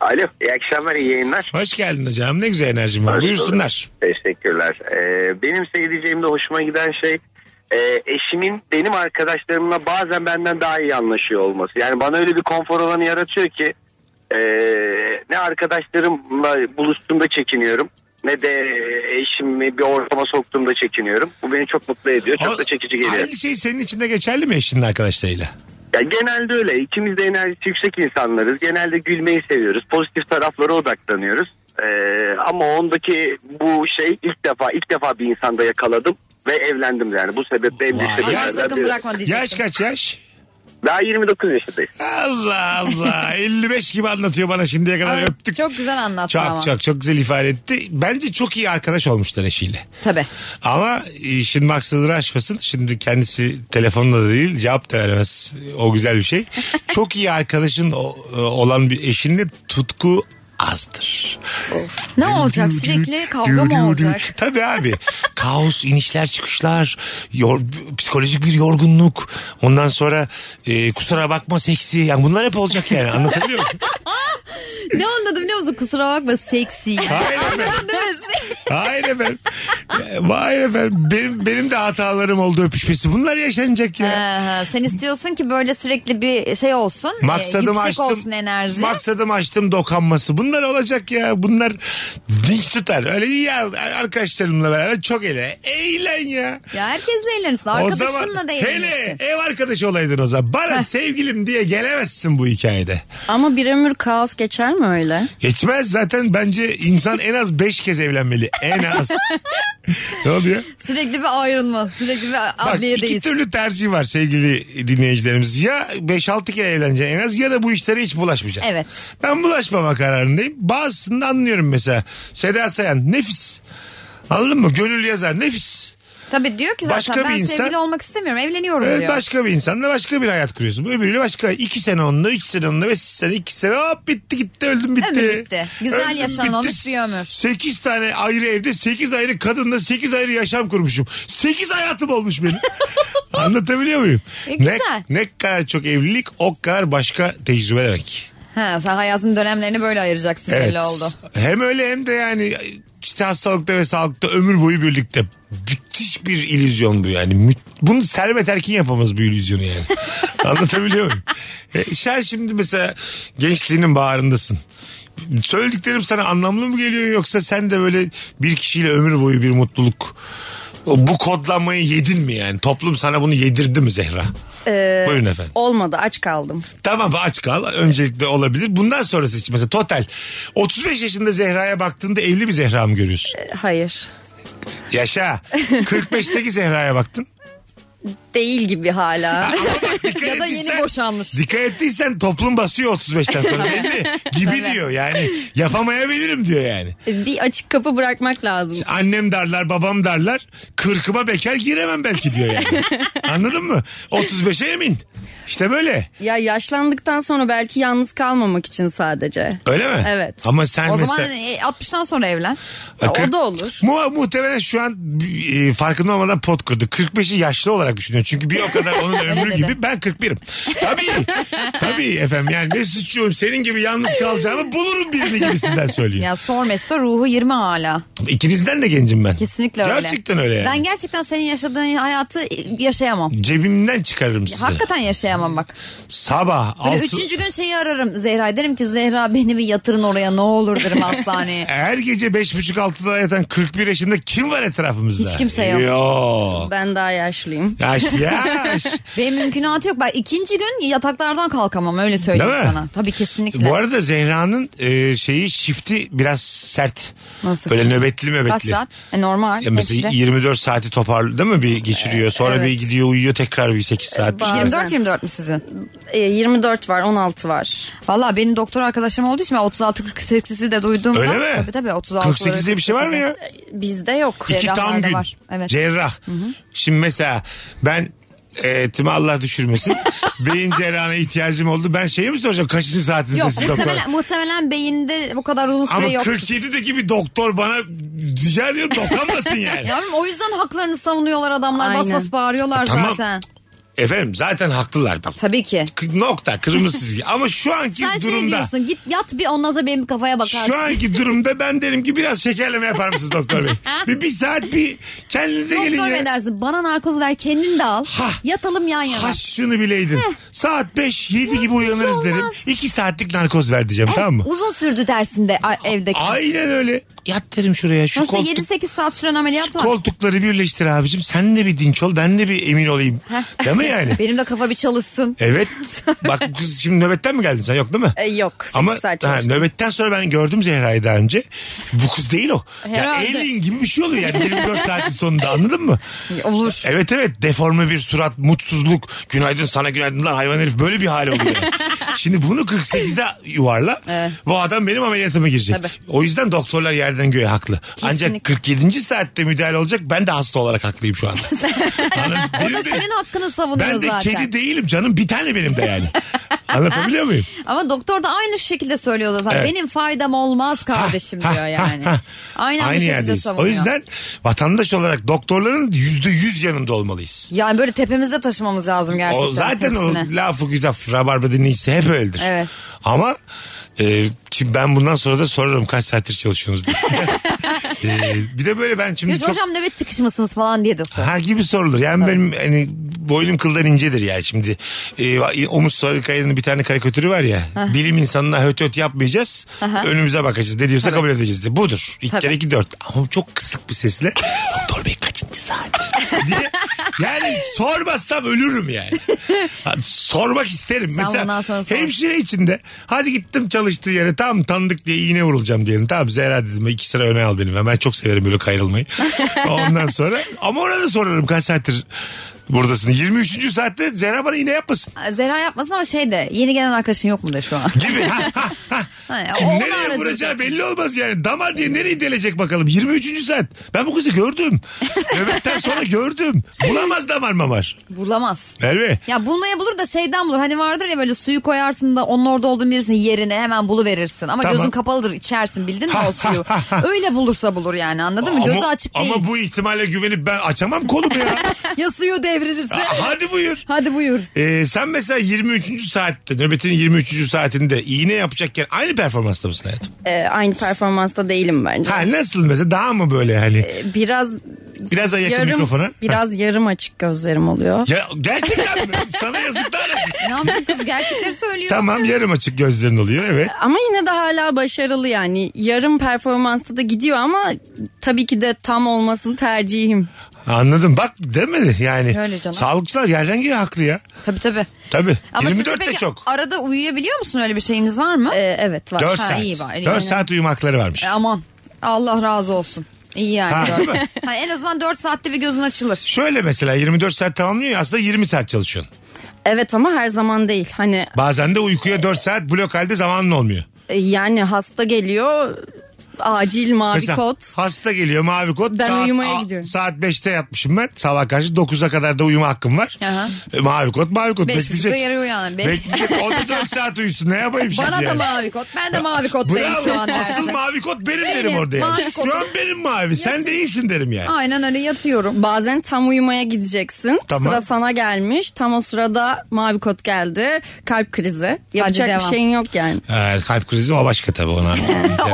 Alo, iyi akşamlar, iyi yayınlar. Hoş geldin hocam. Ne güzel enerjim var. Hoş Buyursunlar. Teşekkürler. Ee, benim sevdiceğimde hoşuma giden şey e, eşimin benim arkadaşlarımla bazen benden daha iyi anlaşıyor olması. Yani bana öyle bir konfor alanı yaratıyor ki e, ne arkadaşlarımla buluştuğumda çekiniyorum ne de e, eşimi bir ortama soktuğumda çekiniyorum. Bu beni çok mutlu ediyor. Çok da çekici geliyor. Aynı şey senin için de geçerli mi eşinin arkadaşlarıyla? Ya genelde öyle. İkimiz de enerjisi yüksek insanlarız. Genelde gülmeyi seviyoruz. Pozitif taraflara odaklanıyoruz. Ee, ama ondaki bu şey ilk defa ilk defa bir insanda yakaladım ve evlendim yani. Bu sebeple en büyük sebeplerden biri. Yaş kaç yaş? Daha 29 yaşındayım. Allah Allah. 55 gibi anlatıyor bana şimdiye kadar. Ama Öp- Çok güzel anlattı Çok ama. çok çok güzel ifade etti. Bence çok iyi arkadaş olmuşlar eşiyle. Tabii. Ama işin maksadını aşmasın. Şimdi kendisi telefonla da değil cevap da veremez. O güzel bir şey. Çok iyi arkadaşın o- e, olan bir eşinle tutku azdır. Ne olacak sürekli kavga Dü- dü- dü- mı olacak? Tabii abi. Kaos, inişler, çıkışlar, yor- psikolojik bir yorgunluk. Ondan sonra e, kusura bakma seksi. Yani bunlar hep olacak yani. Anlatabiliyor muyum? ne anladım biliyor musun? Kusura bakma seksi. Hayır Anladın değil mi? Hayır efendim. Hayır efendim. Benim, benim de hatalarım oldu öpüşmesi. Bunlar yaşanacak ya. Ee, sen istiyorsun ki böyle sürekli bir şey olsun. e, Maksadım yüksek açtım. olsun enerji. Maksadım açtım dokanması. Bunlar olacak ya. Bunlar dinç tutar. Öyle değil ya arkadaşlarımla beraber çok ele. Eğlen ya. ya herkesle eğlenirsin. O Arkadaşınla zaman da hele eğlenirsin. ev arkadaşı olaydın o zaman. Bana sevgilim diye gelemezsin bu hikayede. Ama bir ömür kaos geçer mi öyle? Geçmez zaten bence insan en az 5 kez evlenmeli. En az. ne oluyor? Sürekli bir ayrılma. Sürekli bir Bak iki adliyedeyiz. türlü tercih var sevgili dinleyicilerimiz. Ya 5-6 kere evleneceksin en az ya da bu işlere hiç bulaşmayacaksın. Evet. Ben bulaşmama kararındayım. Bazısını da anlıyorum mesela. Seda Sayan nefis. Anladın mı? Gönül yazar nefis. Tabii diyor ki zaten Başka bir ben insan- sevgili olmak istemiyorum. Evleniyorum Ee, diyor. başka bir insanla başka bir hayat kuruyorsun. Öbürüyle başka. iki sene onunla, üç sene onunla, beş sene, iki sene hop bitti gitti öldüm bitti. Ömür bitti. Güzel Öldüm, yaşanılmış bitti. bir ömür. Sekiz tane ayrı evde, sekiz ayrı kadınla, sekiz ayrı yaşam kurmuşum. Sekiz hayatım olmuş benim. Anlatabiliyor muyum? E, güzel. Ne, ne kadar çok evlilik o kadar başka tecrübe demek. Ha, sen hayatın dönemlerini böyle ayıracaksın belli oldu. Hem öyle hem de yani işte hastalıkta ve sağlıkta ömür boyu birlikte. Müthiş bir illüzyon bu yani. Mü- Bunu Servet Erkin yapamaz bu illüzyonu yani. Anlatabiliyor muyum? E, sen şimdi mesela gençliğinin bağrındasın. Söylediklerim sana anlamlı mı geliyor yoksa sen de böyle bir kişiyle ömür boyu bir mutluluk o- bu kodlamayı yedin mi yani? Toplum sana bunu yedirdi mi Zehra? Ee, Buyurun efendim. Olmadı aç kaldım. Tamam aç kal. Öncelikle olabilir. Bundan sonrası için mesela total 35 yaşında Zehra'ya baktığında evli bir Zehra mı görüyorsun? Ee, Hayır. Yaşa. 45'teki Zehra'ya baktın. Değil gibi hala. Ya da yeni ettiysen- boşanmış. Dikkat ettiysen toplum basıyor 35'ten sonra belli. Gibi diyor yani. Yapamayabilirim diyor yani. E, bir açık kapı bırakmak lazım. Annem darlar babam darlar. Kırkıma bekar giremem belki diyor yani. Anladın mı? 35'e emin. İşte böyle. Ya yaşlandıktan sonra belki yalnız kalmamak için sadece. Öyle mi? Evet. Ama sen O mesela... zaman e, 60'tan sonra evlen. Ya Kırk- o da olur. Mu muhtemelen şu an e, farkında olmadan pot kırdı. 45'i yaşlı olarak düşünüyor. Çünkü bir o kadar onun ömrü dedi. gibi ben 41'im. Tabii. tabii efendim yani Mesut'cuğum senin gibi yalnız kalacağımı bulurum birini gibisinden söylüyor. Ya sor Mesut'a ruhu 20 hala. İkinizden de gencim ben. Kesinlikle öyle. Gerçekten öyle yani. Ben gerçekten senin yaşadığın hayatı e, yaşayamam. Cebimden çıkarırım sizi. Hakikaten yaşayamam bak. Sabah Böyle altı... üçüncü gün şeyi ararım Zehra. Derim ki Zehra beni bir yatırın oraya ne olur derim hastaneye. Her gece beş buçuk altıda yatan 41 yaşında kim var etrafımızda? Hiç kimse yok. Yok. Ben daha yaşlıyım. Yaş yaş. Benim mümkünatı yok. Bak ikinci gün yataklardan kalkamam öyle söyleyeyim Değil mi? sana. Tabii kesinlikle. Bu arada Zehra'nın e, şeyi şifti biraz sert. Nasıl? Böyle nöbetli möbetli. Kaç saat? E, normal. Ya mesela hemşire. 24 saati toparlı değil mi bir geçiriyor sonra bir Evet. gidiyor uyuyor tekrar bir 8 saat. bir şey. Bazen. 24-24 mü sizin? Ee, 24 var 16 var. Valla benim doktor arkadaşım olduğu için ben 36-48'i de duyduğumda. Öyle mi? Tabii tabii 36 48 diye bir şey var mı ya? E, Bizde yok. İki tam Cerrahlarda gün. var, evet. Cerrah. Şimdi mesela ben eğitimi Allah düşürmesin. beyin cerrahına ihtiyacım oldu. Ben şeyi mi soracağım? Kaçıncı Yok saatinizde siz doktor? muhtemelen, muhtemelen beyinde bu kadar uzun Ama süre yok. 47'deki bir doktor bana rica ediyorum dokanmasın yani. Yavrum o yüzden haklarını savunuyorlar adamlar. Bas Aynen. bas bağırıyorlar Tamam. zaten. Efendim zaten haklılar bak. Tabii ki. K- Nokta kırmızı çizgi. Ama şu anki Sen durumda. şey diyorsun git yat bir ondan sonra benim kafaya bakarsın. Şu anki durumda ben derim ki biraz şekerleme yapar mısınız doktor bey? Bir, bir saat bir kendinize Doktor gelin bey ya. dersin bana narkoz ver kendin de al. Ha. Yatalım yan yana. Ha şunu bileydin. Saat 5 7 gibi bir şey uyanırız derim. olmaz. 2 saatlik narkoz ver diyeceğim tamam mı? Uzun sürdü dersin de a- evdeki. Aynen öyle. Yat derim şuraya. Şu Sonuçta koltuk, 7-8 saat süren ameliyat var. koltukları birleştir abicim. Sen de bir dinç ol. Ben de bir emin olayım. Heh. Değil mi yani? Benim de kafa bir çalışsın. Evet. Bak bu kız şimdi nöbetten mi geldin sen yok değil mi? E, yok. sekiz Ama saat ha, çalıştım. nöbetten sonra ben gördüm Zehra'yı daha önce. Bu kız değil o. Ya Herhalde. alien gibi bir şey oluyor yani 24 saatin sonunda anladın mı? Olur. Evet evet deforme bir surat, mutsuzluk, günaydın sana günaydınlar hayvan herif böyle bir hal oluyor. yani. Şimdi bunu 48'de yuvarla. Evet. Bu adam benim ameliyatıma girecek. Tabii. O yüzden doktorlar yerden göğe haklı. Ancak Kesinlikle. 47. saatte müdahale olacak. Ben de hasta olarak haklıyım şu anda. Anladın? O Benim da de- senin hakkını savunuyor ben de zaten. kedi değilim canım. Bir tane benim de yani. Anlatabiliyor muyum? Ama doktor da aynı şu şekilde söylüyor zaten. Evet. Benim faydam olmaz kardeşim Ha, diyor ha, yani. ha. Aynen bu şekilde yerdeyiz. savunuyor. O yüzden vatandaş olarak doktorların yüzde yüz yanında olmalıyız. Yani böyle tepemizde taşımamız lazım gerçekten. O zaten hepsini. o lafı güzel rabarba dinleyicisi hep öyledir. Evet. Ama e, şimdi ben bundan sonra da sorarım kaç saattir çalışıyorsunuz diye. E, bir de böyle ben şimdi Yürü, çok Hocam nöbet çıkış mısınız falan diye de sor. Ha gibi sorulur. Yani benim hani boynum kıldan incedir ya şimdi. Ee, Omuz Sarıkaya'nın bir tane karikatürü var ya. Bilim insanına höt höt yapmayacağız. Önümüze bakacağız. Ne diyorsa kabul edeceğiz de. Budur. İlk Tabii. kere iki dört. Ama çok kısık bir sesle. Doktor bey kaçıncı saat? diye. Yani sormazsam ölürüm yani. Ha, Sormak isterim. Sen bundan Mesela sonra sor. hemşire içinde hadi gittim çalıştığı yere tam tanıdık diye iğne vurulacağım diyelim. Tamam Zehra dedim iki sıra öne al benim. Ben çok severim böyle kayrılmayı. Ondan sonra ama ona da sorarım kaç saattir buradasın. 23. saatte Zehra bana iğne yapmasın Zehra yapmasın ama şey de yeni gelen arkadaşın yok mu de şu an? gibi. Ha, ha, ha. Ha, Kim o- onu nereye arayacak vuracağı zaten. belli olmaz yani. Damar diye nereye delecek bakalım. 23. saat. Ben bu kızı gördüm. Nöbetten sonra gördüm. Bulamaz damar mamar. Bulamaz. Merve. Ya bulmaya bulur da şeyden bulur. Hani vardır ya böyle suyu koyarsın da onun orada olduğunu bilirsin yerine hemen buluverirsin. Ama Tamam. gözün kapalıdır içersin bildin mi Ha, o suyu. ha, ha, ha. Öyle bulursa bulur yani anladın mı? Gözü Ama- açık değil. Ama bu ihtimale güvenip ben açamam kolumu ya. Ya suyu devrilirse. Hadi buyur. Hadi buyur. Ee, sen mesela 23. saatte nöbetin 23. saatinde iğne yapacakken aynı performansta mısın hayatım? E, aynı performansta değilim bence. Ha nasıl mesela daha mı böyle hani Ee, E, Biraz biraz daha yakın yarım, mikrofona? Biraz yarım açık gözlerim oluyor. Ya, gerçekten mi? Sana yazıklar olsun. Yalnız kız gerçekleri söylüyor. Tamam yarım açık gözlerin oluyor evet. Ama yine de hala başarılı yani. Yarım performansta da gidiyor ama tabii ki de tam olmasını tercihim. Anladım bak demedi yani. Öyle canım. Sağlıkçılar yerden geliyor haklı ya. Tabii tabii. Tabii. Ama 24 sizin de peki çok. Arada uyuyabiliyor musun öyle bir şeyiniz var mı? E, evet var. 4 Ha, saat. iyi bari, 4 yani. saat uyumakları varmış. E, aman Allah razı olsun. İyi yani. Ha, dört. değil mi? Ha, en azından 4 saatte bir gözün açılır. Şöyle mesela 24 saat tamamlıyor ya aslında 20 saat çalışıyorsun. Evet ama her zaman değil. Hani Bazen de uykuya 4 saat blok halde zamanın olmuyor. e, yani hasta geliyor acil mavi Mesela kot. hasta geliyor mavi kot. Ben saat, uyumaya a- gidiyorum. Saat 5'te yatmışım ben. Sabah karşı 9'a kadar da uyuma hakkım var. Aha. E, mavi kot mavi kot. Beş buçukta Bekleyecek. yarı uyanır. Beş- Bekleyecek. O da 4 saat uyusun. Ne yapayım şimdi Bana da yani? mavi kot. Ben de mavi kottayım Bravo. şu an. Asıl dersin. mavi kot benim derim Benim, orada yani. mavi Şu kot. an benim mavi. Sen değilsin derim yani. Aynen öyle yatıyorum. Bazen tam uyumaya gideceksin. Tamam. Sıra sana gelmiş. Tam o sırada mavi kot geldi. Kalp krizi. Yapacak bir devam. şeyin yok yani. Ha, Ee, kalp krizi o başka tabii ona.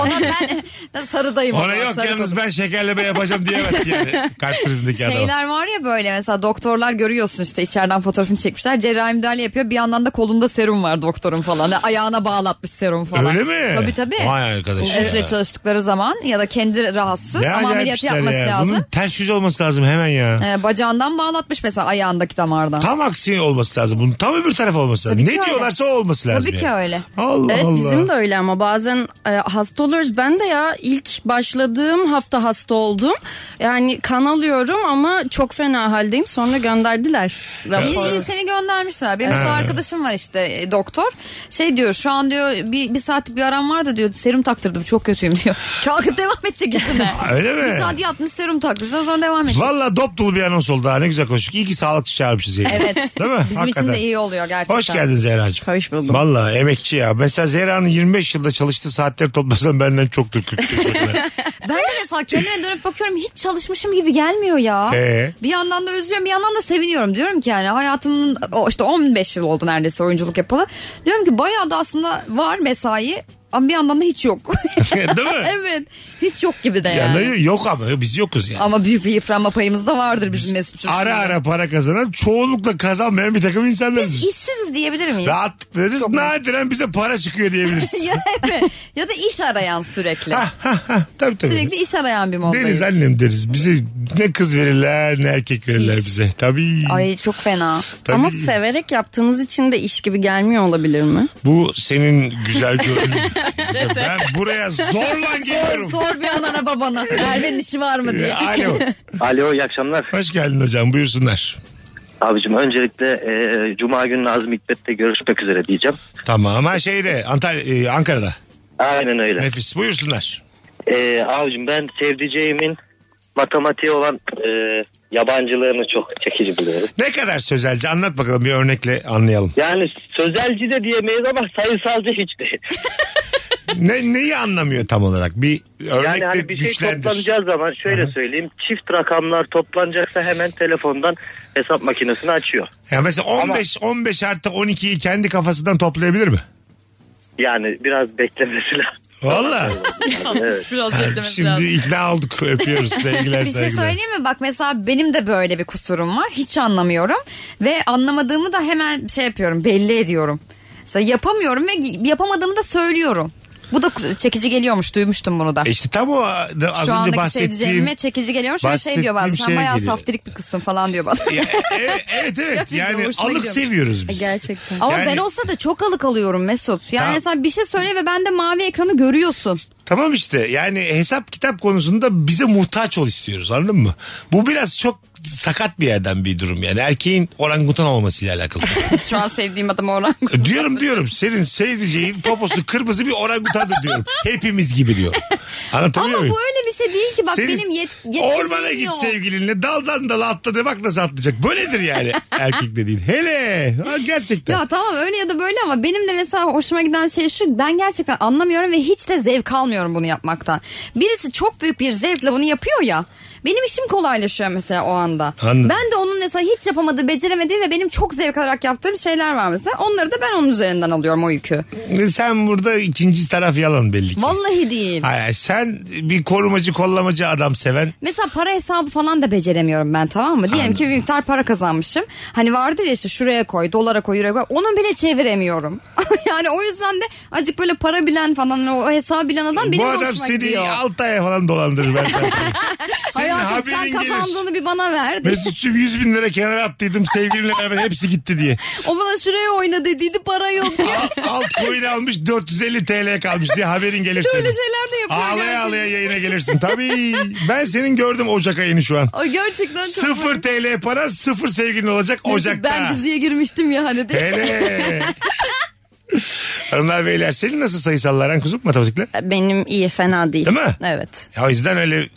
Ona ben, ben sarıdayım. ona ama, yok sarı yalnız kot. ben şekerleme yapacağım diyemez yani. Kalp krizindeki adam. Şeyler var ya böyle mesela doktorlar görüyorsun işte içeriden fotoğrafını çekmişler. Cerrahi müdahale yapıyor. Bir yandan da kolunda serum var doktorun falan. Ayağına bağlatmış serum falan. Öyle mi? Tabii tabii. Vay arkadaş Uzun ya. süre çalıştıkları zaman ya da kendi rahatsız Ne acayip ama ameliyatı işler yapması ya. Bunun lazım. ters yüz olması lazım hemen ya. Ee, bacağından bağlatmış mesela ayağındaki damardan. Tam aksi olması lazım. Bunun tam öbür taraf olması lazım. Tabii ne ki öyle. diyorlarsa o olması lazım. Tabii ki yani. öyle. Allah Evet Allah. bizim de öyle ama bazen e, hasta oluyoruz. Ben de ya ilk başladığım hafta hasta oldum. Yani kan alıyorum ama çok fena haldeyim. Sonra gönderdiler İyi, raporu. iyi, seni göndermişler. Benim mesela arkadaşım var işte e, doktor. Şey diyor şu an diyor bir, bir saatlik bir aram vardı diyor. Serum taktırdım çok kötüyüm diyor. Kalkıp devam edecek işine. Öyle mi? bir saat yatmış serum takmışlar sonra devam edecek. Valla dop dolu bir anons oldu ha. Ne güzel konuştuk. İyi ki sağlıkçı çağırmışız yayına. Evet. Değil mi? Bizim Hakikaten. için de iyi oluyor gerçekten. Hoş geldin Zehra'cığım. Hoş buldum. Valla emekçi ya. Mesela Zehra'nın 25 yılda çalıştığı saatleri toplasan benden çoktur Ben de mesela kendime dönüp bakıyorum hiç çalışmışım gibi gelmiyor ya. Ee? Bir yandan da özlüyorum bir yandan da seviniyorum. Diyorum ki yani hayatımın o işte 15 yıl oldu neredeyse oyunculuk yapalı. Diyorum ki bayağı da aslında var mesai ama bir yandan da hiç yok. Değil mi? evet hiç yok gibi de Ya yani. da yok ama biz yokuz yani. Ama büyük bir yıpranma payımız da vardır bizim Mesut Çocuk'un. Ara ara para kazanan çoğunlukla kazanmayan bir takım insanlarız. Biz biz. işsiziz diyebilir miyiz? Rahatlıklarız nadiren bize para çıkıyor diyebiliriz. ya, evet. ya da iş arayan sürekli. Ah, tabii tabii. sürekli iş arayan bir moddayız. Deriz annem deriz. Bize ne kız verirler ne erkek verirler Hiç. bize. Tabii. Ay çok fena. tabii. Ama severek yaptığınız için de iş gibi gelmiyor olabilir mi? Bu senin güzel görünüm. ben buraya zorla Sor, geliyorum. Ee, sor bir anana babana. Merve'nin işi var mı diye. Alo. Alo iyi akşamlar. Hoş geldin hocam buyursunlar. Abicim öncelikle e, Cuma günü Nazım Hikmet'te görüşmek üzere diyeceğim. Tamam ha şeyde Antalya, e, Ankara'da. Aynen öyle. Nefis buyursunlar. E, abicim ben sevdiceğimin matematiğe olan e, yabancılığını çok çekici buluyorum. Ne kadar sözelci anlat bakalım bir örnekle anlayalım. Yani sözelci de diyemeyiz ama sayısalcı hiç değil. Ne neyi anlamıyor tam olarak? Bir örnekle Yani hani bir şey güçlendir. toplanacağı zaman şöyle Aha. söyleyeyim. Çift rakamlar toplanacaksa hemen telefondan hesap makinesini açıyor. Ya mesela 15 15 artı 12'yi kendi kafasından toplayabilir mi? Yani biraz beklemesi lazım. Valla. Evet. Biraz Şimdi ikna olduk. Öpüyoruz sevgiler bir şey saygılar. söyleyeyim mi? Bak mesela benim de böyle bir kusurum var. Hiç anlamıyorum. Ve anlamadığımı da hemen şey yapıyorum. Belli ediyorum. Mesela yapamıyorum ve yapamadığımı da söylüyorum. Bu da kus- çekici geliyormuş. Duymuştum bunu da. E İşte tam o da az Şu önce andaki bahsettiğim. sevdiceğime çekici geliyormuş. Ve şey diyor bazen. bahsettiğim Sen şeye bayağı geliyor." saftirik bir kızsın falan diyor bana. Ya, e- e- evet evet Gerçekten yani hoşuna alık gidiyormuş. seviyoruz biz. Gerçekten. Ama Yani- ben olsa da çok alık alıyorum Mesut. Yani Tamam. mesela bir şey söyle ve ben de mavi ekranı görüyorsun. Tamam işte yani hesap kitap konusunda bize muhtaç ol istiyoruz anladın mı? Bu biraz çok sakat bir yerden bir durum yani erkeğin orangutan olmasıyla alakalı. E, Şu an sevdiğim adam Orhan. diyorum diyorum senin sevdiceğin poposu kırmızı bir orangutandır diyorum. Hepimiz gibi diyor. Anlatabiliyor Ama muyum? bu öyle bir şey değil ki. Bak Senin benim yet yetkinliğim Ormana git yok. sevgilinle daldan dala atladı bak nasıl atlayacak. Böyledir yani erkek dediğin. Hele ha, gerçekten. Ya tamam öyle ya da böyle ama benim de mesela hoşuma giden şey şu ben gerçekten anlamıyorum ve hiç de zevk almıyorum bunu yapmaktan. Birisi çok büyük bir zevkle bunu yapıyor ya. Benim işim kolaylaşıyor mesela o anda. Anladım. Ben de onun mesela hiç yapamadığı, beceremediği ve benim çok zevk alarak yaptığım şeyler var mesela. Onları da ben onun üzerinden alıyorum o yükü. E, Sen burada ikinci taraf yalan belli ki. Vallahi değil. Hayır, hayır, sen bir korumacı kollamacı adam seven Mesela para hesabı falan da beceremiyorum ben tamam mı? Diyelim ki bir miktar para kazanmışım. Hani vardır ya işte şuraya koy, dolara koy, euroya koy. Onu bile çeviremiyorum. yani o yüzden de acık böyle para bilen falan o hesabı bilen adam benim bu de adam hoşuma seni gidiyor. 6 aya falan dolandırır ben sana söyleyeyim. Senin Hayatım sen haberin kazandığını gelir. bir bana ver. Mesut'cum 100 bin lira kenara attıydım sevgilimle beraber hepsi gitti diye. O bana şuraya oyna dediydi para yok diye. Alt coin almış 450 TL kalmış diye haberin gelir Böyle senin. şeyler de yapıyor Ağlaya gerçekten. ağlaya yayına gelirsin. Tabii ben senin gördüm Ocak ayını şu an. Ay gerçekten çok Sıfır TL para sıfır sevgilin olacak Neyse, Ocak'ta. Ben diziye girmiştim ya hani diye. Hele. Hanımlar beyler senin nasıl sayısallaran kuzum matematikle? E, Benim iyi fena değil. Değil mi? Evet. Ya o yüzden öyle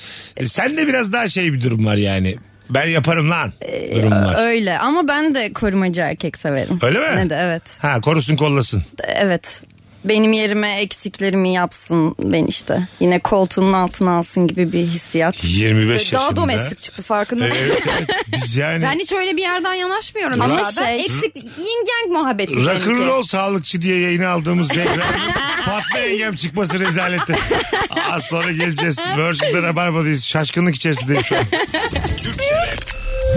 sen de biraz daha şey bir durum var yani. Ben yaparım lan Ee, durum var. Öyle ama ben de korumacı erkek severim. Öyle mi? Ne de evet. Ha korusun kollasın. Evet. Benim yerime eksiklerimi yapsın ben işte. Yine koltuğunun altına alsın gibi bir hissiyat. 25 yaşında. Ee, Daha domestik çıktı farkında. Evet, evet. Biz yani Ben hiç öyle bir yerden yanaşmıyorum. Ama Ama şey- eksik yin yang muhabbeti. benimki. rock'n'roll sağlıkçı diye yayına aldığımız Zehra. Fatma yengem çıkması rezaleti. Az sonra geleceğiz. Virgin'de Rabarba'dayız. Şaşkınlık içerisindeyiz şu an.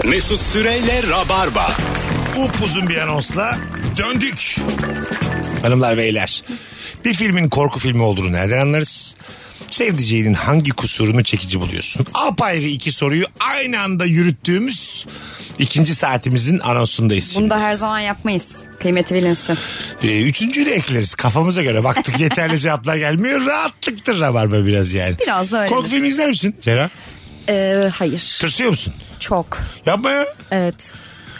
Mesut Süreyle Rabarba. upuzun bir anonsla döndük. Hanımlar beyler bir filmin korku filmi olduğunu nereden anlarız? Sevdiceğinin hangi kusurunu çekici buluyorsun? Apayrı iki soruyu aynı anda yürüttüğümüz ikinci saatimizin anonsundayız. Bunu da her zaman yapmayız. Kıymeti bilinsin. Ee, üçüncüyü de ekleriz kafamıza göre. Baktık yeterli cevaplar gelmiyor. Rahatlıktır rabarba biraz yani. Biraz da öyle. Korku filmi izler misin Zera? Ee, hayır. Tırsıyor musun? Çok. Yapma ya. Evet.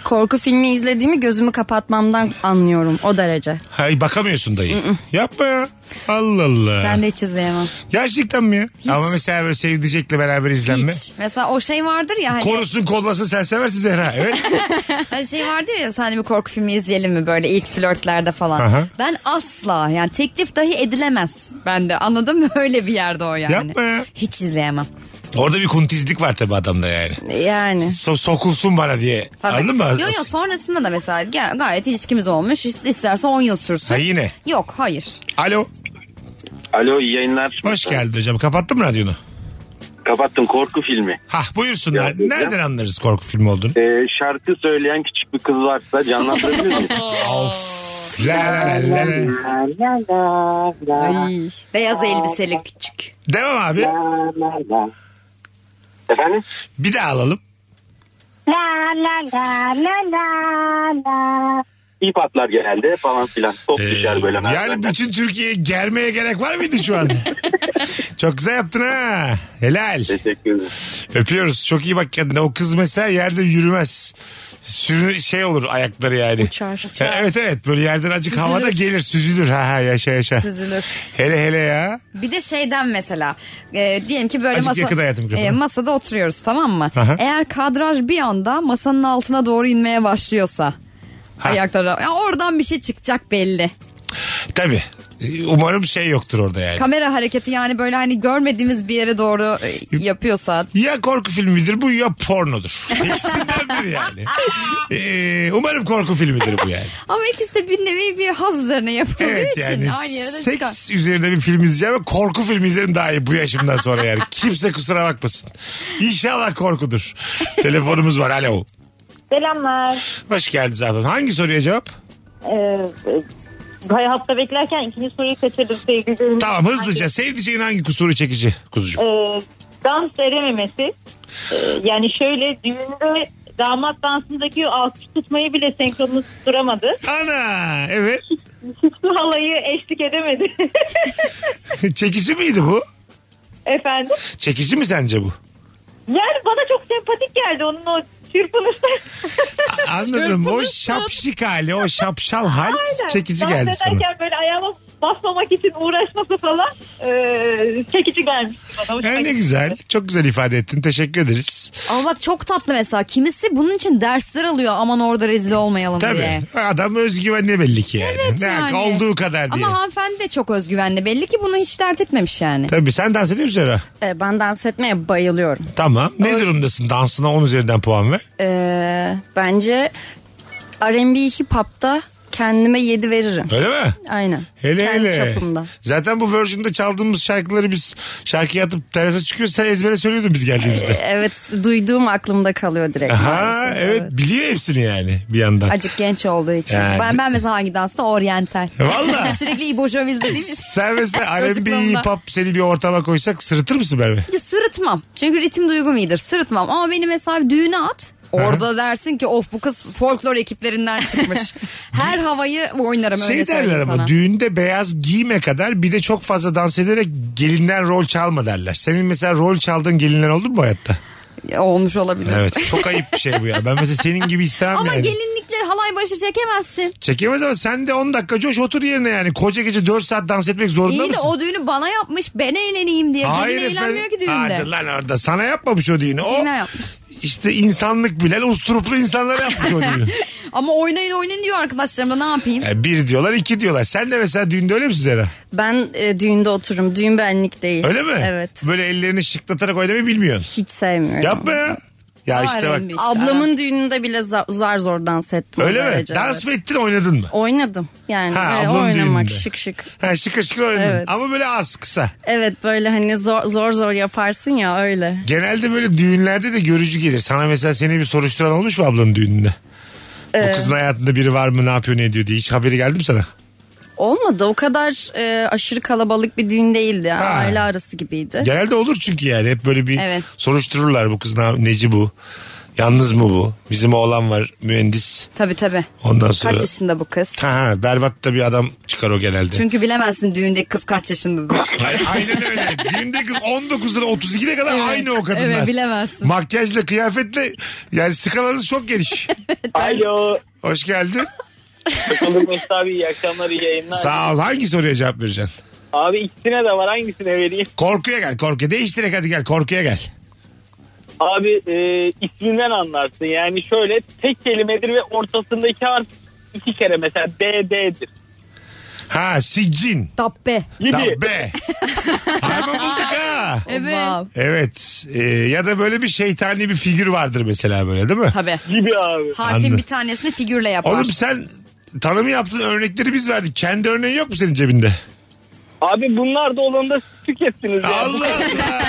korku filmi izlediğimi gözümü kapatmamdan anlıyorum o derece. Hay bakamıyorsun dayı. Yapma ya. Allah Allah. Ben de hiç izleyemem. Gerçekten mi ya? Ama mesela böyle sevdicekle beraber izlenme. Hiç. Mesela o şey vardır ya hani, Korusun kollasın sen seversin Zehra. Evet. hani şey vardır ya sen bir korku filmi izleyelim mi böyle ilk flörtlerde falan. Aha. Ben asla yani teklif dahi edilemez bende anladın mı öyle bir yerde o yani. Yapma ya. Hiç izleyemem. Orada bir kuntizlik var tabii adamda yani. Yani. So- sokulsun bana diye. Tabii. Anladın mı? Yok yok sonrasında da mesela gay- gayet ilişkimiz olmuş İst- isterse 10 yıl sürsün. Ha yine. Yok hayır. Alo. Alo iyi yayınlar. Hoş geldin hocam. Kapattın mı radyonu? Kapattım korku filmi. Hah buyursunlar. Yok, yok ya. Nereden anlarız korku filmi olduğunu? Ee, şarkı söyleyen küçük bir kız varsa canlandırabilir miyim? La la la la la. Ay. Beyaz elbiseli küçük. Devam abi. Efendim? Bir daha alalım. İyi patlar genelde falan filan. Top Ee, düşer böyle. yani merdivenden. bütün Türkiye'ye germeye gerek var mıydı şu anda? Çok güzel yaptın ha. Helal. Teşekkür ederim. Öpüyoruz. Çok iyi bak kendine. O kız mesela yerde yürümez. Sürü şey olur ayakları yani. Uçar. Ha, Evet evet böyle yerden acık Süzülür. havada gelir süzülür. Ha ha yaşa yaşa. Üzülür. Hele hele ya. Bir de şeyden mesela e, diyelim ki böyle Azıcık masa, e, yakın hayatım mikrofonu. masada oturuyoruz tamam mı? Aha. Eğer kadraj bir anda masanın altına doğru inmeye başlıyorsa ayakları ya oradan bir şey çıkacak belli. Tabii. Ee, Umarım şey yoktur orada yani. Kamera hareketi yani böyle hani görmediğimiz bir yere doğru e, yapıyorsa ya korku filmidir bu ya pornodur. İkisinden biri yani. Ee, umarım korku filmidir bu yani. ama ikisi de bir nevi bir haz üzerine yapıldığı Evet için yani aynı yere de çıkar. seks üzerine bir film izleyeceğim ama korku filmi izlerim daha iyi bu yaşımdan sonra yani. Kimse kusura bakmasın. İnşallah korkudur. Telefonumuz var alo. Selamlar. Hoş geldiniz abi. Hangi soruya cevap? Ee, hayatta beklerken ikinci soruyu kaçırdım sevgili Tamam hızlıca sevdiceğin hangi kusuru çekici kuzucuğum? e, dans verememesi. E, yani şöyle düğünde damat dansındaki o alkış tutmayı bile senkronunu tutturamadı. Ana evet. Süslü halayı eşlik edemedi. çekici miydi bu? Efendim? Çekici mi sence bu? Yani bana çok sempatik geldi onun o çırpınışı. A- Anladım. o şapşik hali, o şapşal hal Aynen. çekici Dans geldi sana. ederken böyle ayağıma basmamak için uğraşması falan e, çekici gelmişti bana. Hoşuma Ya ne gitti. güzel. Çok güzel ifade ettin. Teşekkür ederiz. Ama bak çok tatlı mesela kimisi bunun için dersler alıyor aman orada rezil olmayalım diye. Tabii. Adam özgüvenli belli ki yani. Evet ne yani. olduğu kadar diye. Ama hanımefendi de çok özgüvenli belli ki bunu hiç dert etmemiş yani. Tabii sen dans ediyor musun Zehra? E, ben dans etmeye bayılıyorum. Tamam. Ne durumdasın? Dansına 10 üzerinden puan ver. E, bence R&B hip hop'ta kendime 7 veririm. Öyle mi? Aynen. Hele Kendi hele. çapımda. Zaten bu version'da çaldığımız şarkıları biz şarkıya atıp terasa çıkıyoruz. Sen ezbere söylüyordun biz geldiğimizde. Evet duyduğum aklımda kalıyor Ee, direkt. Aha maalesef. evet biliyor hepsini yani bir yandan. Acık genç olduğu için. Yani- Ben ben mesela hangi dansta? Oryantal. Valla. Sürekli İbo Jovi'de değil mi? Sen mesela R&B Çocukluğumda. hip hop seni bir ortama koysak sırıtır mısın Merve? Bence Sırıtmam. Çünkü ritim duygum iyidir. Sırıtmam. Ama beni mesela bir düğüne at. Orada dersin ki of bu kız folklor ekiplerinden çıkmış. Her havayı oynarım öyle Şey derler söyleyeyim ama sana. düğünde beyaz giyme kadar bir de çok fazla dans ederek gelinden rol çalma derler. Senin mesela rol çaldığın gelinler oldu mu bu hayatta? Olmuş olabilir. Evet çok ayıp bir şey bu ya. Ben mesela senin gibi istemem Ama yani. gelinlikle halay başı çekemezsin. Çekemez ama sen de 10 dakika coş otur yerine yani. Koca gece 4 saat dans etmek zorunda İyi de mısın? o düğünü bana yapmış. Ben eğleneyim diye. Gelin eğlenmiyor ki düğünde. Hadi lan orada. Sana yapmamış o düğünü. O Kime yapmış? işte insanlık bilen usturuplu insanlara yapmış o düğünü. Ama oynayın oynayın diyor arkadaşlarımla ne yapayım? Yani bir diyorlar iki diyorlar. Sen de mesela düğünde öyle misin Zera? Ben e, düğünde otururum. Düğün benlik değil. Öyle mi? Evet. Böyle ellerini şıklatarak oynamayı bilmiyorsun. Hiç sevmiyorum. Yapma ya. Ya işte bak. R&B. Ablamın düğününde bile za- zar zor dans ettim. Öyle O mi? derece, Dans evet. mı ettin oynadın mı? Oynadım yani Ha, Ve ablanın oynamak düğününde. şık şık. Ha, şıkır şıkır oynadın. Evet. Ama böyle az kısa. Evet böyle hani zor zor zor yaparsın ya öyle. Genelde böyle düğünlerde de görücü gelir. Sana mesela seni bir soruşturan olmuş mu ablanın düğününde? Bu kızın hayatında biri var mı ne yapıyor ne ediyor diye. Hiç haberi geldi mi sana? Olmadı o kadar e, aşırı kalabalık bir düğün değildi yani. Ha. aile arası gibiydi. Genelde olur çünkü yani hep böyle bir Evet. soruştururlar bu kız ne, neci bu. Yalnız mı bu? Bizim oğlan var mühendis. Tabii tabii. Ondan sonra. Kaç yaşında bu kız? Ha, ha, berbat da bir adam çıkar o genelde. Çünkü bilemezsin düğündeki kız kaç yaşındadır. Ay- Aynen öyle. Günde kız 19'dan 32'ne kadar aynı o kadınlar. Evet, bilemezsin. Makyajla kıyafetle yani skalanız çok geniş. Alo. Hoş geldin. Bakalım Mesut abi iyi akşamlar iyi yayınlar. Sağ ol. Hangi soruya cevap vereceksin? Abi ikisine de var hangisine vereyim? Korkuya gel korkuya. Değiştirek hadi gel korkuya gel. Abi e, isminden anlarsın yani şöyle tek kelimedir ve ortasındaki harf iki kere mesela BD'dir. Ha siccin. Dabbe. Dabbe. Harman bulduk ha. Evet. Evet. Ee, ya da böyle bir şeytani bir figür vardır mesela böyle değil mi? Tabii. Gibi abi. Harfin Anladım. bir tanesini figürle yapar. Oğlum sen tanımı yaptığın örnekleri biz verdik. Kendi örneğin yok mu senin cebinde? Abi bunlar da olanında tükettiniz ya. Allah Allah.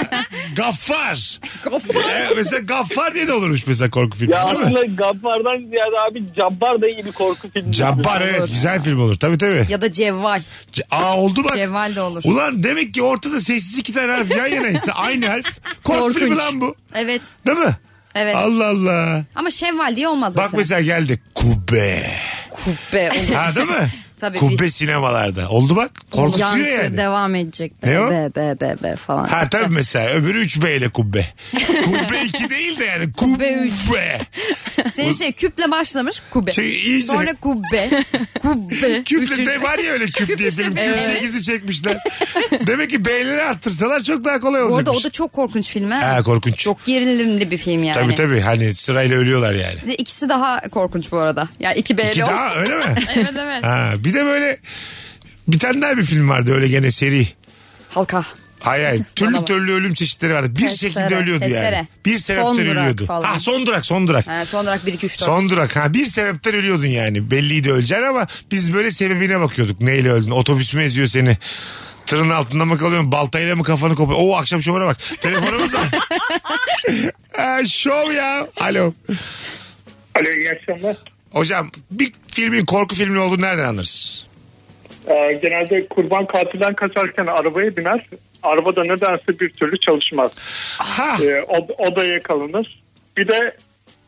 Gaffar. Gaffar. Ee, mesela Gaffar diye de olurmuş mesela korku filmi Ya değil mi? aslında Gabbar'dan ziyade abi Cabbar da iyi bir korku filmi. Cabbar evet güzel film olur. Tabii tabii. Ya da cevval. C- Aa oldu bak. Cevval de olur. Ulan demek ki ortada sessiz iki tane harf yan yanaysa aynı harf. Korku filmi Korkunç. lan bu. Evet. Değil mi? Evet. Allah Allah. Ama şevval diye olmaz Bak mesela. mesela geldi kubbe. Kubbe olur. Ha değil mi? Tabii kubbe bir- sinemalarda. Oldu bak. Korkutuyor Yankı yani. devam edecek. Ne Be, o? be be be be falan. Ha tabii mesela öbürü 3 B ile kubbe. kubbe 2 değil de yani Kubbe kubbe. üç. Senin şey küple başlamış kubbe. Şey, iyice. Sonra kubbe. kubbe. Küple Üçüncü- de var ya öyle küp diye Küp işte, film. Küp evet. 8'i çekmişler. Demek ki B'leri arttırsalar çok daha kolay Bu olacak. arada o da çok korkunç film. ha. Ha korkunç. Çok Gerilimli bir film yani. Tabii tabii hani sırayla ölüyorlar yani. Ve ikisi daha korkunç bu arada. Ya iki B'li İki o. daha öyle mi? Evet evet. Ha, bir de böyle bir tane daha bir film vardı öyle gene seri. Halka. Hayır hayır. Türlü Bana bak. türlü ölüm çeşitleri vardı. Bir Testere, şekilde ölüyordu yani. testere. Bir sebepten Son durak ölüyordu. falan. Ha son durak son durak. Ha, son olarak 1 2 3 4. Son durak. Ha bir sebepten ölüyordun yani. Belliydi öleceksin ama biz böyle sebebine bakıyorduk. Neyle öldün? Otobüs mü eziyor seni? Tırın altında mı kalıyorsun? Baltayla mı kafanı kopuyor? Oo akşam şovuna bak. Telefonumuz var. Ha, şov ya. Alo. Alo iyi akşamlar. Hocam bir filmin korku filmi olduğunu nereden anlarız? Ee, genelde kurban katilden kaçarken arabaya biner. Arabada nedense bir türlü çalışmaz. Ha. e, Ee, od- odaya kalınır. Bir de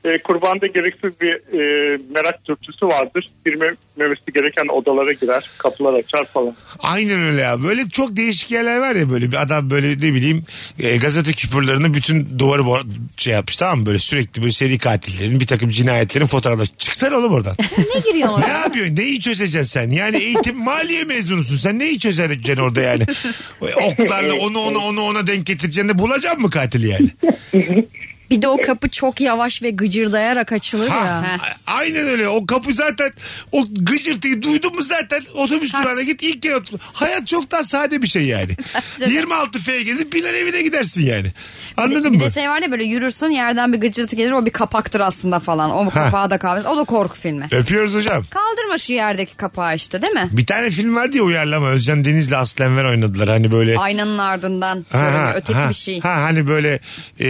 e, kurbanda gereksiz bir e, merak dürtüsü vardır. Girmemesi gereken odalara girer, kapılar açar falan. Aynen öyle ya. Böyle çok değişik yerler var ya böyle bir adam böyle ne bileyim e, gazete küpürlerini bütün duvarı bo- şey yapmış tamam mı? Böyle sürekli böyle seri katillerin bir takım cinayetlerin fotoğrafları. Çıksana oğlum oradan. Ne giriyor ne oraya? yapıyorsun? Neyi çözeceksin sen? Yani eğitim maliye mezunusun. Sen neyi çözeceksin orada yani? Oklarla onu ona onu ona denk getireceksin de bulacaksın mı katili yani? Bir de o kapı çok yavaş ve gıcırdayarak açılır ya. Ha, a- aynen öyle. O kapı zaten o gıcırtıyı duydun mu zaten otobüs durağına git ilk kere otur. Hayat çok daha sade bir şey yani. 26 F'ye gelip biner evine gidersin yani. Anladın bir mı? de şey var ya böyle yürürsün yerden bir gıcırtı gelir o bir kapaktır aslında falan. O kapağı da kalmış. O da korku filmi. Öpüyoruz hocam. Kaldırma şu yerdeki kapağı işte değil mi? Bir tane film vardı ya uyarlama. Özcan Deniz'le Aslı Enver oynadılar. Hani böyle Aynanın ardından Ha, böyle ha, öteki ha, bir şey. Ha, hani böyle e,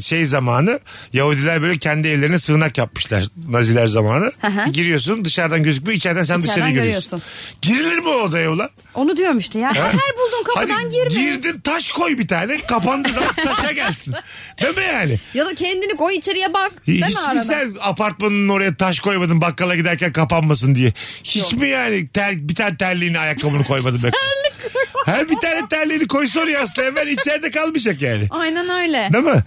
şey zamanı Yahudiler böyle kendi evlerine sığınak yapmışlar Naziler zamanı. hı. Giriyorsun dışarıdan gözükmüyor içeriden sen İçeriden dışarıyı görüyorsun. Girilir mi o odaya ulan? Onu diyorum işte ya. Her bulduğun kapıdan Hadi girme. girdin taş koy bir tane kapandı zaten taşa gelsin. Değil mi yani? Ya da kendini koy içeriye bak. Değil Hiç mi mi arada? sen apartmanın oraya taş koymadın bakkala giderken kapanmasın diye? Hiç mi yani ter, bir tane terliğini ayakkabını koymadın? Terlik Her bir tane terliğini koysa oraya aslında hemen içeride kalmayacak yani. Aynen öyle. Değil mi?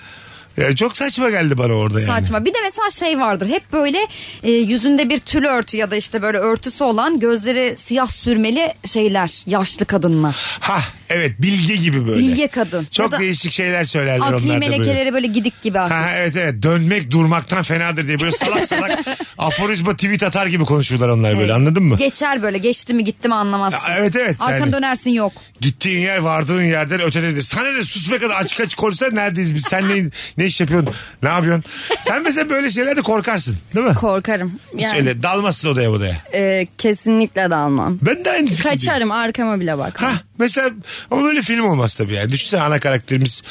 Yani çok saçma geldi bana orada yani. Saçma. Bir de mesela şey vardır. Hep böyle e, yüzünde bir tül örtü ya da işte böyle örtüsü olan gözleri siyah sürmeli şeyler. Yaşlı kadınlar. Ha evet bilge gibi böyle. Bilge kadın. Çok ya da değişik şeyler söylerler onlar da akli böyle. melekeleri böyle gidik gibi. hafif. Ha, evet evet dönmek durmaktan fenadır diye böyle salak salak aforizma tweet atar gibi konuşurlar onlar böyle Evet. anladın mı? Geçer böyle geçti mi gitti mi anlamazsın. Ya, evet, evet, Arkanı yani. dönersin yok. Gittiğin yer vardığın yerden ötededir. Sana ne sus be kadar açık açık konuşsan neredeyiz biz sen ne, ne iş yapıyorsun ne yapıyorsun? Sen mesela böyle şeylerde korkarsın değil mi? Korkarım. Hiç Yani, öyle dalmazsın odaya odaya. e, kesinlikle dalmam. Ben de aynı fikirdeyim. Kaçarım arkama bile bak. Ha mesela ama böyle film olmaz tabii yani. Düşünsene ana karakterimiz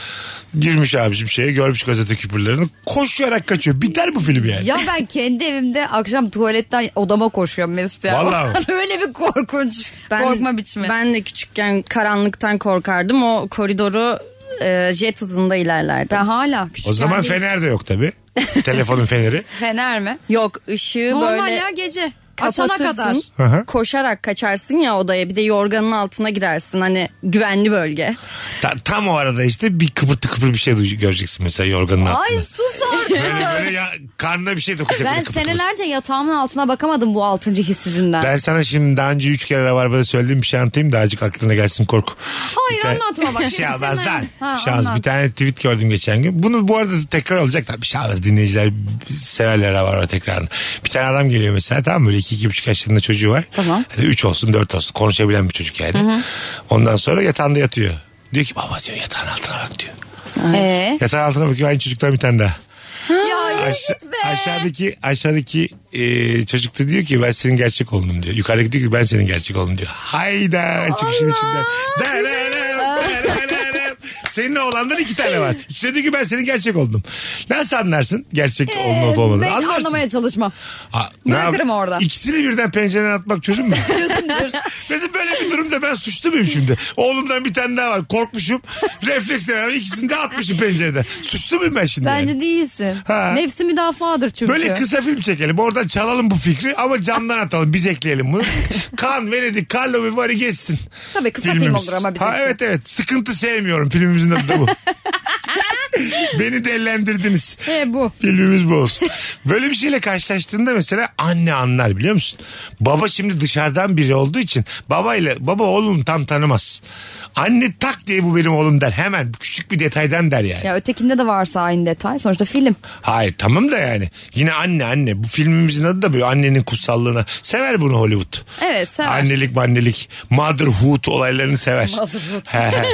girmiş abicim şeye görmüş gazete küpürlerini koşarak kaçıyor. Biter bu film yani. Ya ben kendi evimde akşam tuvaletten odama koşuyorum Mesut ya. Vallahi mi? Öyle bir korkunç. Ben, korkma biçimi. Ben de küçükken karanlıktan korkardım. O koridoru e, jet hızında ilerlerdi. Ben hala küçük. O zaman fener de yok tabi. Telefonun feneri. Fener mi? Yok ışığı Normal böyle ya gece. Açana kadar. kapatırsın. Hı hı. Koşarak kaçarsın ya odaya bir de yorganın altına girersin hani güvenli bölge. Ta- tam o arada işte bir kıpırtı kıpır bir şey duy- göreceksin mesela yorganın altında. Ay sus artık. Böyle ya, karnına bir şey dokunacak. ben böyle kıpır kıpır. senelerce yatağımın altına bakamadım bu altıncı his yüzünden. Ben sana şimdi daha önce 3 kere Rabarba'da söylediğim bir şey anlatayım da azıcık aklına gelsin korku. Hayır anlatma bak. Bir şey almaz lan. Ha, Bir şey almaz. anlat. Bir tane tweet gördüm geçen gün. Bunu bu arada tekrar olacak tabii. Bir şey almaz. Dinleyiciler severler Rabarba tekrarını. Bir tane adam geliyor mesela tamam mı? Böyle 2-2,5 yaşlarında çocuğu var. Tamam. Hadi 3 olsun 4 olsun. Konuşabilen bir çocuk yani. Ondan sonra yatağında yatıyor. Diyor ki baba diyor yatağın altına bak diyor. Ee? Yatağın altına bakıyor aynı çocuktan bir tane daha. Ya yürü Aşa- git be. aşağıdaki aşağıdaki e, çocuk da diyor ki ben senin gerçek oğlunum diyor. Yukarıdaki diyor ki ben senin gerçek oğlunum diyor. Hayda çıkışın içinden. Dararım, dararım. Senin oğlandan iki tane var. İkisi de diyor ki ben senin gerçek oğlunum. Nasıl anlarsın gerçek oğlun olup olmadığını? Ee, Ben hiç Anlarsın. anlamaya çalışmam. Ha, ne yap- Bırakırım orada. İkisini birden pencereden atmak çözüm mü? Çözümdür. Mesela böyle bir durumda ben suçlu muyum şimdi? Oğlumdan bir tane daha var. Korkmuşum. Refleksle beraber ikisini de atmışım pencereden. Suçlu muyum ben şimdi? yani? Bence değilsin. Ha. Nefsi müdafaadır çünkü. Böyle kısa film çekelim. Oradan çalalım bu fikri ama camdan atalım. Biz ekleyelim bunu. kan, Venedik, Carlo Vivari geçsin. Tabii kısa film Filmimiz. olur ama bizim. Ha, için. evet evet. Sıkıntı sevmiyorum. Filmimizin adı da bu. Beni dellendirdiniz. E, bu. Filmimiz bu olsun. Böyle bir şeyle karşılaştığında mesela anne anlar biliyor musun? Baba şimdi dışarıdan biri olduğu için babayla baba oğlum tam tanımaz. Anne tak diye bu benim oğlum der. Hemen küçük bir detaydan der yani. Ya ötekinde de varsa aynı detay. Sonuçta film. Hayır tamam da yani. Yine anne anne. Bu filmimizin adı da böyle annenin kutsallığına. Sever bunu Hollywood. Evet sever. Annelik mannelik. Motherhood olaylarını sever. Motherhood. He, he.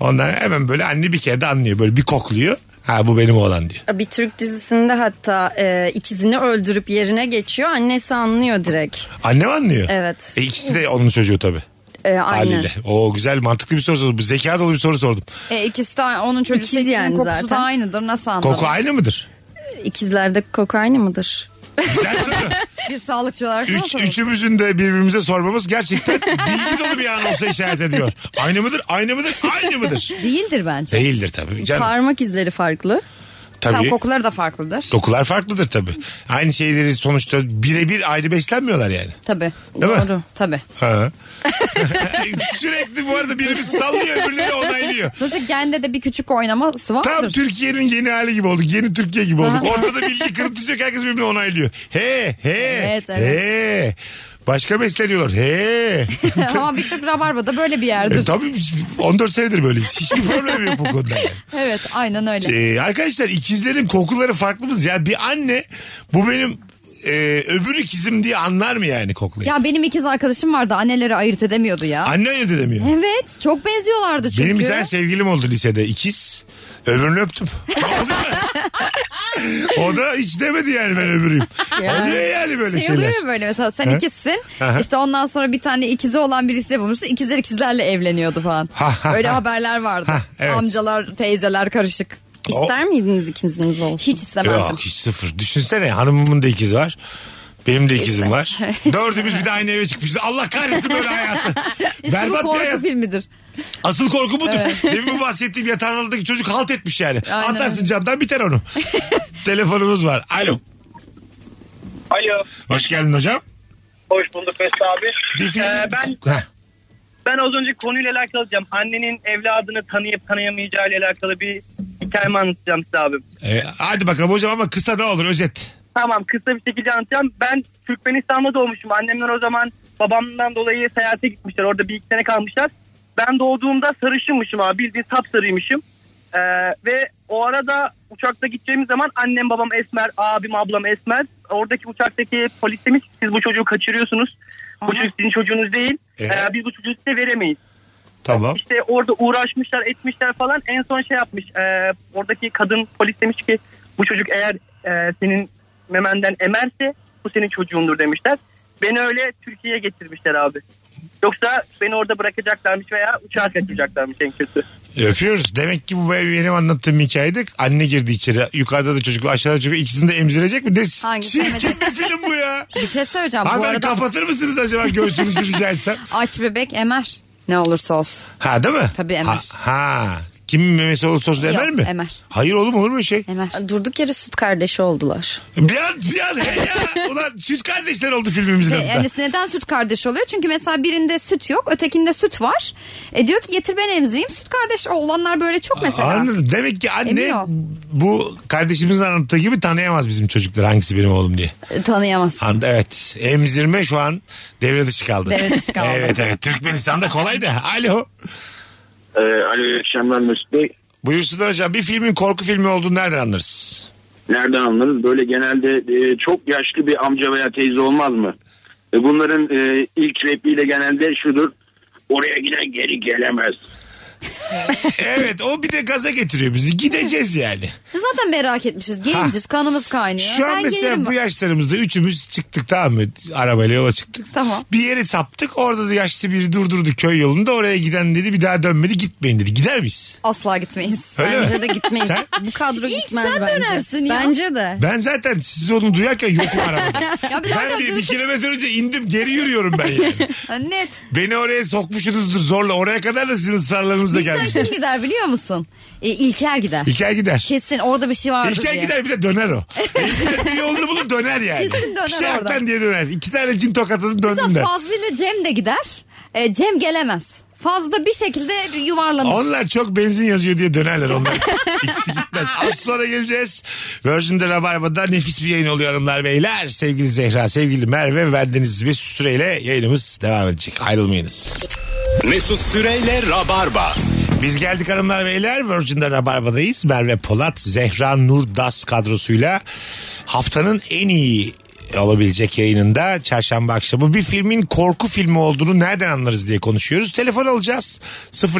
Ondan hemen böyle anne bir kere de anlıyor. Böyle bir kokluyor. Ha bu benim oğlan diyor. Bir Türk dizisinde hatta e, ikizini öldürüp yerine geçiyor annesi anlıyor direkt. Annem anlıyor. Evet. E, ikisi de onun çocuğu tabii. E, aynen. Haliyle. O güzel mantıklı bir soru sordum. Bu Zeka dolu bir soru sordum. E, ikisi de onun çocuğu İkiz ikisinin yani kokusu zaten. da aynıdır. Nasıl anladın? Koku aynı mıdır? İkizlerde koku aynı mıdır? Güzel soru. Bir sağlıkçı olarak sana Üç, sorayım. üçümüzün de birbirimize sormamız gerçekten bilgi dolu bir an olsa işaret ediyor. Aynı mıdır? Aynı mıdır? Aynı mıdır? Değildir bence. Değildir tabii. Canım, Parmak izleri farklı. tabii. Tam kokuları da farklıdır. Dokular farklıdır tabii. Aynı şeyleri sonuçta birebir ayrı beslenmiyorlar yani. Tabii. Değil mi? Doğru. Tabii. Ha. Sürekli bu arada birimiz sallıyor öbürleri onaylıyor. Sonuçta gende de bir küçük oynaması vardır. Tam Türkiye'nin yeni hali gibi olduk. Yeni Türkiye gibi olduk. Ortada bilgi kırıntısı yok. Herkes birbirini onaylıyor. He he Evet, evet. he. Başka besleniyorlar. He. Ama bir tık rabarbada böyle bir E, yerdir. tabii biz 14 senedir böyleyiz. Hiçbir problem yok bu konuda. yani. evet aynen öyle. Ee, arkadaşlar ikizlerin kokuları farklı mı? Ya bir anne bu benim e, öbür ikizim diye anlar mı yani koklayıp? Ya benim ikiz arkadaşım vardı anneleri ayırt edemiyordu ya. Anne ayırt edemiyor. Evet çok benziyorlardı çünkü. Benim bir tane sevgilim oldu lisede ikiz. Öbürünü öptüm. o da hiç demedi yani ben öbürüyüm. Oluyor yani böyle şey şeyler. oluyor ya böyle mesela sen He? ikizsin. Aha. İşte ondan sonra bir tane ikizi olan birisi de bulmuşsun. İkizler ikizlerle evleniyordu falan. Ha, ha, Öyle ha. haberler vardı. Ha, evet. Amcalar, teyzeler karışık. İster miydiniz ikiziniz olsun? Hiç istemezdim. Yok hiç sıfır. Düşünsene hanımımın da ikizi var. Benim de ikizim var. Dördümüz bir de aynı eve çıkmışız. Allah kahretsin böyle hayatı. İşte bu Berbat bir korku hayat. filmidir. Asıl korku budur. Demin bahsettiğim yatağın altındaki çocuk halt etmiş yani. Aynen. Atarsın camdan biter onu. Telefonumuz var. Alo. Alo. Hoş geldin hocam. Hoş bulduk Mesut abi. Bir film- Ee, ben Heh. ben az önce konuyla alakalı diyeceğim. Annenin evladını tanıyıp tanıyamayacağı ile alakalı bir hikayemi anlatacağım size abi. Ee, hadi bakalım hocam ama kısa ne olur özet. Tamam kısa bir şekilde anlatacağım. Ben Türkmenistan'da doğmuşum. Annemler o zaman babamdan dolayı seyahate gitmişler. Orada bir iki sene kalmışlar. Ben doğduğumda sarışınmışım abi. Bildiğin sapsarıymışım. Ee, ve o arada uçakta gideceğimiz zaman annem babam esmer, abim ablam esmer. Oradaki uçaktaki polis demiş ki, siz bu çocuğu kaçırıyorsunuz. Bu çocuk sizin çocuğunuz değil. Ee? Ee, biz bu çocuğu size veremeyiz. Tamam. İşte orada uğraşmışlar etmişler falan en son şey yapmış e, oradaki kadın polis demiş ki bu çocuk eğer e, senin memenden emerse bu senin çocuğundur demişler. Beni öyle Türkiye'ye getirmişler abi. Yoksa beni orada bırakacaklarmış veya uçağa kaçıracaklarmış en kötü. E, Öpüyoruz. Demek ki bu benim benim anlattığım hikayede anne girdi içeri. Yukarıda da çocuk aşağıda da çocuk ikisini de emzirecek mi? Ne Hangisi çirkin emecek? bir film bu ya. Bir şey söyleyeceğim bu Haber arada. kapatır mısınız acaba göğsünüzü rica etsem? Aç bebek emer. Ne olursa olsun. Ha değil mi? Tabii emer. Ha, ha. Kimin memesi olursa olsun emer Yok, mi? emer. Hayır oğlum olur mu öyle şey? Durduk yere süt kardeşi oldular. Bir an bir an he ya. Ulan süt kardeşler oldu filmimizde. Ve yani neden süt kardeş oluyor? Çünkü mesela birinde süt yok, ötekinde süt var. E diyor ki getir ben emzireyim. Süt kardeş olanlar böyle çok mesela. Anladım. Demek ki anne Emiyor. bu kardeşimizin anlattığı gibi tanıyamaz bizim çocuklar hangisi benim oğlum diye. E, Tanıyamaz. Anda evet. Emzirme şu an devre dışı kaldı. Devre dışı kaldı. evet evet. Türkmenistan'da kolay da. Alo. Ee, alo iyi akşamlar Mesut Bey. Buyursunlar hocam. Bir filmin korku filmi olduğunu nereden anlarız? Nereden anlarız? Böyle genelde e, çok yaşlı bir amca veya teyze olmaz mı? E, bunların e, ilk repliği de genelde şudur. Oraya giden geri gelemez. evet o bir de gaza getiriyor bizi. Gideceğiz yani. Zaten merak etmişiz. Genciz, kanımız kaynıyor. Şu an ben mesela gelirim. bu yaşlarımızda üçümüz çıktık tamam mı? Arabayla yola çıktık. Tamam. Bir yere saptık. Orada da yaşlı biri durdurdu köy yolunda. Oraya giden dedi bir daha dönmedi gitmeyin dedi. Gider miyiz? Asla gitmeyiz. Öyle mi? bence de gitmeyiz. Sen? Bu kadro İlk gitmez sen bence. dönersin ya. Bence de. Ben zaten siz onu duyarken yokum arabada. Ya bir ben bir, dakika bir diyorsun. kilometre önce indim geri yürüyorum ben yani. Ha, Net. Beni oraya sokmuşsunuzdur zorla. Oraya kadar da sizin ısrarlarınızla Bizden gelmiştir. kim gider biliyor musun? E, İlker gider. İlker gider. Kesin orada bir şey vardır İlker diye. gider bir de döner o. İlker bir yolunu bulur döner yani. Kesin döner Bir şey oradan. haktan diye döner. İki tane cin tokatını döndüm Mesela der. Fazlı ile Cem de gider. E, Cem gelemez. Fazla bir şekilde yuvarlanır. Onlar çok benzin yazıyor diye dönerler onlar. İkisi gitmez. Az sonra geleceğiz. Virgin'de Rabarba'da nefis bir yayın oluyor hanımlar beyler. Sevgili Zehra, sevgili Merve ve bendeniz bir süreyle yayınımız devam edecek. Ayrılmayınız. Mesut Süreyle Rabarba. Biz geldik hanımlar beyler. Virgin'de Rabarba'dayız. Merve Polat, Zehra Nurdas kadrosuyla haftanın en iyi olabilecek yayınında çarşamba akşamı bir filmin korku filmi olduğunu nereden anlarız diye konuşuyoruz. Telefon alacağız.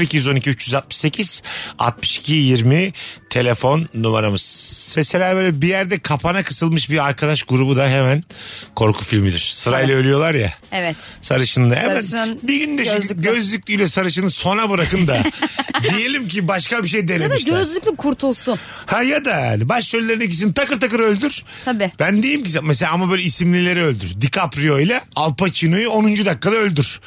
0212 368 62 20 telefon numaramız. Mesela böyle bir yerde kapana kısılmış bir arkadaş grubu da hemen korku filmidir. Sırayla ölüyorlar ya. Evet. Sarışınla hemen Sarışın, bir günde şu gözlüklü. gözlüklüyle sarışını sona bırakın da diyelim ki başka bir şey Ya da denemişler. gözlüklü kurtulsun. Ha ya da yani başrollerin ikisini takır takır öldür. Tabii. Ben diyeyim ki mesela ama böyle isimlileri öldür. DiCaprio ile Al Pacino'yu 10. dakikada öldür.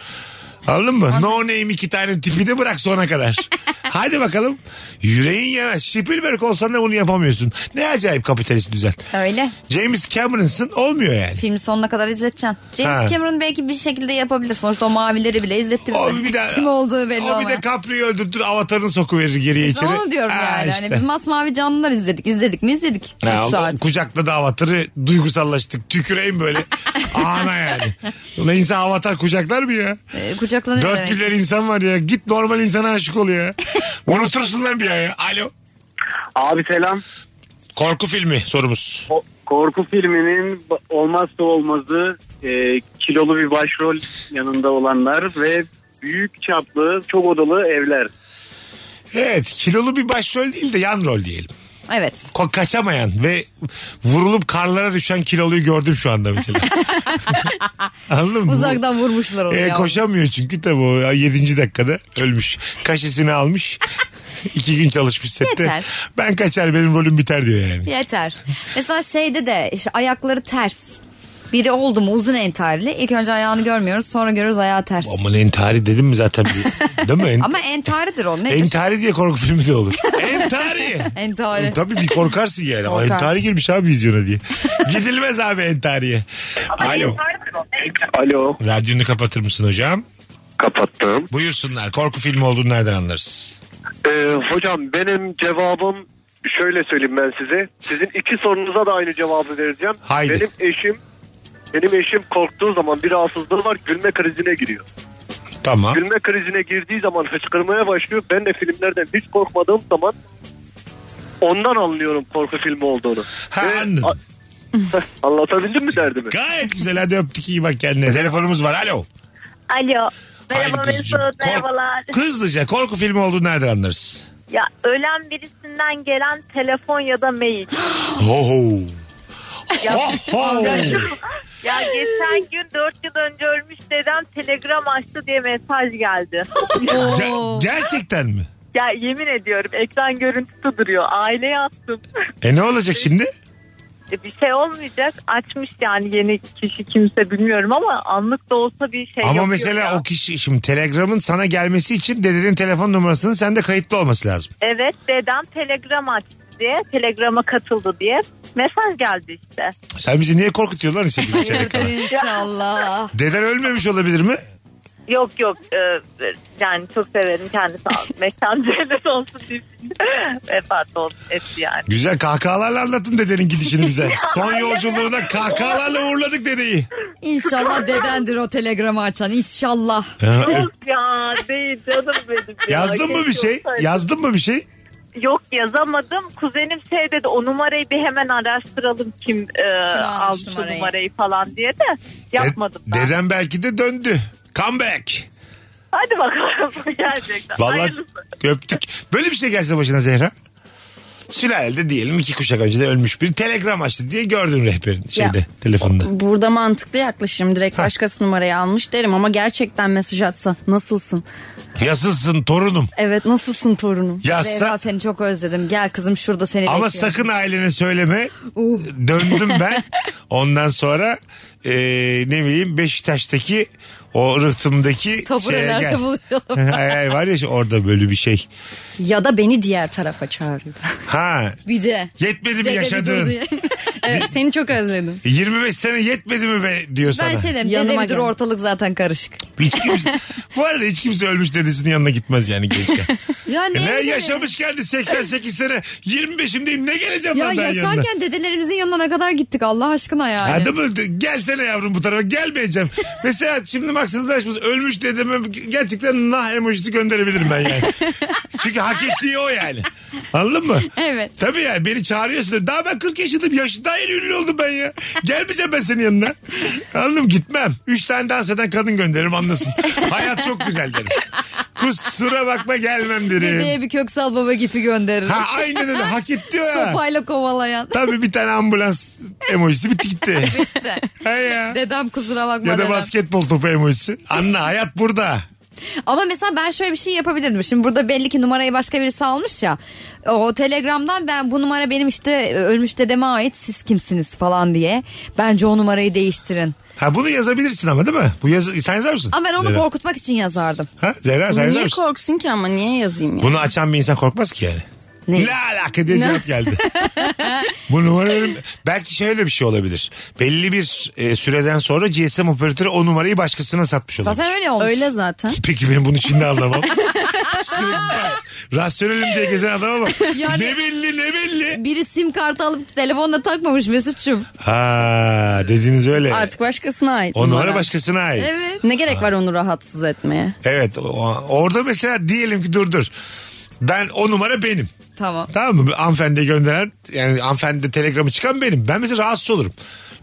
Anladın mı? No name iki tane tipi de bırak sona kadar. Hadi bakalım. Yüreğin yemez. Spielberg olsan da bunu yapamıyorsun. Ne acayip kapitalist düzen. Öyle. James Cameron'sın olmuyor yani. Filmi sonuna kadar izleteceksin. James Ha. Cameron belki bir şekilde yapabilir. Sonuçta o mavileri bile izletti bize. O bir de, Kim olduğu belli o bir de olmayan. Caprio'yu öldürtür avatarını sokuverir geriye içeri. Onu diyorum Ha, yani. işte. Hani biz masmavi canlılar izledik. İzledik mi izledik. Ha, Üç o- saat. Kucakladı avatarı duygusallaştık. Tüküreyim böyle. Ana yani. Ulan insan avatar kucaklar mı ya? Ee, kucaklanıyor Dört demek. milyar insan var ya. Git normal insana aşık ol ya. Unutursun lan bir ay ya. Alo. Abi selam. Korku filmi sorumuz. O- korku filminin ba- olmazsa olmazı e, kilolu bir başrol yanında olanlar ve büyük çaplı çok odalı evler. Evet kilolu bir başrol değil de yan rol diyelim. Evet. Ko- kaçamayan ve vurulup karlara düşen kiloluyu gördüm şu anda mesela. Anladın mı? Uzaktan vurmuşlar onu E, ya. koşamıyor çünkü tabii o 7. dakikada ölmüş. Kaşesini almış. İki gün çalışmış sette. Yeter. Ben kaçar benim rolüm biter diyor yani. Yeter. Mesela şeyde de işte ayakları ters. Biri oldu mu uzun entarili. İlk önce ayağını görmüyoruz sonra görürüz ayağı ters. Aman entari dedim mi zaten? bir- Değil mi? En- Ama entaridir o. Nedir? entari diye korku filmi de olur. entari. E, Entari. Tabii bir korkarsın yani. Aa, Korkarsın. Entari girmiş abi vizyona diye. Gidilmez abi entariye. Alo. Alo. Radyonu kapatır mısın hocam? Kapattım. Buyursunlar. Korku filmi olduğunu nereden anlarız? Ee, hocam benim cevabım şöyle söyleyeyim ben size. Sizin iki sorunuza da aynı cevabı vereceğim. Haydi. Benim eşim benim eşim korktuğu zaman bir rahatsızlığı var gülme krizine giriyor. Tamam. Gülme krizine girdiği zaman hıçkırmaya başlıyor. Ben de filmlerden hiç korkmadığım zaman ondan anlıyorum korku filmi olduğunu. Ha, Ve- anladım. Anlatabildim mi derdimi? Gayet güzel. Hadi öptük iyi bak kendine. Telefonumuz var. Alo. Alo. Merhaba Haydi kızcığım. Kork- Mesut, merhabalar. Hızlıca korku filmi olduğunu nereden anlarız? Ya ölen birisinden gelen telefon ya da mail. Ho ho. Ho ho. Ya geçen gün 4 yıl önce ölmüş dedem telegram açtı diye mesaj geldi. Ge- gerçekten mi? ya yemin ediyorum ekran görüntüsü duruyor. Aileye attım. E ne olacak şimdi? e, bir şey olmayacak. Açmış yani yeni kişi kimse bilmiyorum ama anlık da olsa bir şey Ama yapıyor mesela ya. o kişi şimdi Telegram'ın sana gelmesi için dedenin telefon numarasının sende kayıtlı olması lazım. Evet dedem telegram açtı diye telegrama katıldı diye mesaj geldi işte. Sen bizi niye korkutuyorsun lan 8 çeyrek kala? İnşallah. Deden ölmemiş olabilir mi? yok yok e, yani çok severim kendisi. Mekan cennet olsun deyip vefat oldu etti yani. Güzel kahkahalarla anlatın dedenin gidişini bize. Son yolculuğuna kahkahalarla uğurladık dedeyi. İnşallah dedendir o telegramı açan. İnşallah. Ha, evet. ya değil canım benim. ya. Yazdın mı bir Keşke şey? olsaydı. Yazdın mı bir şey? Yok yazamadım. Kuzenim şey dedi o numarayı bir hemen araştıralım kim, e, almış almış numarayı. numarayı?" numarayı falan diye de E, yapmadım. Deden belki de döndü. Comeback. Hadi bakalım gerçekten. Vallahi Hayırlısı. öptük. Böyle bir şey gelse başına Zehra. Sülalede diyelim iki kuşak önce de ölmüş bir telegram açtı diye gördün rehberin şeyde Ya. telefonda. Burada mantıklı yaklaşım. Direkt başkası numarayı almış derim ama gerçekten mesaj atsa nasılsın? Yasılsın torunum. Evet nasılsın torunum? Yazsa- Zehra seni çok özledim. Gel kızım şurada seni Ama bekliyorum. sakın ailene söyleme. Döndüm ben. Ondan sonra e, ne bileyim Beşiktaş'taki o rıhtımdaki şeye Taburelerde gel. buluşalım. ay, ay, var ya şu- orada böyle bir şey. Ya da beni diğer tarafa çağırıyor. Ha. Bir de. Yetmedi mi Dede bir yaşadığın? dur diye. evet seni çok özledim. 25 sene yetmedi mi be diyor sana. Ben şey derim. Dede bir dur ortalık zaten karışık. Hiç kimse, bu arada hiç kimse ölmüş dedesinin yanına gitmez yani gençken. Ya E ne bileyim. yaşamış geldi 88 sene 25'imdeyim ne geleceğim Ya lan ben yanına. yaşarken dedelerimizin yanına ne kadar gittik Allah aşkına yani. Hadi mı? De- Gelsene yavrum bu tarafa. Gelmeyeceğim. Mesela şimdi maksadlaşmış ölmüş dedeme gerçekten nah emojisi gönderebilirim ben yani. Çünkü hak ettiği o yani. Anladın mı? Evet. Tabii yani beni çağırıyorsun. Daha ben 40 yaşındayım. Yaş, daha yeni ünlü oldum ben ya. Gelmeyeceğim ben senin yanına. Anladın mı? Gitmem. Üç tane dans eden kadın gönderirim anlasın. Hayat çok güzel derim. Kusura bakma gelmem derim. Dedeye bir köksal baba gifi gönderir. Ha aynen öyle hak etti o ya. Sopayla kovalayan. Tabii bir tane ambulans emojisi bitti gitti. Bitti. ya. Dedem kusura bakma Ya da dedem. basketbol topu emojisi. Anne hayat burada. Ama mesela ben şöyle bir şey yapabilirdim. Şimdi burada belli ki numarayı başka birisi almış ya. O telegramdan ben bu numara benim işte e, ölmüş dedeme ait siz kimsiniz falan diye. Bence o numarayı değiştirin. Ha bunu yazabilirsin ama değil mi? Bu yazı sen yazar mısın? Ama ben onu Zehra. korkutmak için yazardım. Ha Zehra sen yazar Niye mısın? korksun ki ama niye yazayım ya? Bunu açan bir insan korkmaz ki yani. Ne, alaka diye Ne? cevap geldi. Bu numaranın belki şöyle bir şey olabilir. Belli bir e, süreden sonra GSM operatörü o numarayı başkasına satmış olabilir. Zaten öyle olmuş. Öyle zaten. Peki benim bunu şimdi anlamam. Sürekli bak, Rasyonelim diye gezen adama bak. Yani- Ne belli ne belli. Biri sim kartı alıp telefonla takmamış Mesut'cum. Ha dediğiniz öyle. Artık başkasına ait. O numara başkasına ait. Evet. Ne gerek var onu rahatsız etmeye? Evet o- orada mesela diyelim ki dur dur. Ben o numara benim. Tamam. Tamam mı? Hanımefendiye gönderen yani hanımefendi telegramı çıkan benim. Ben mesela rahatsız olurum.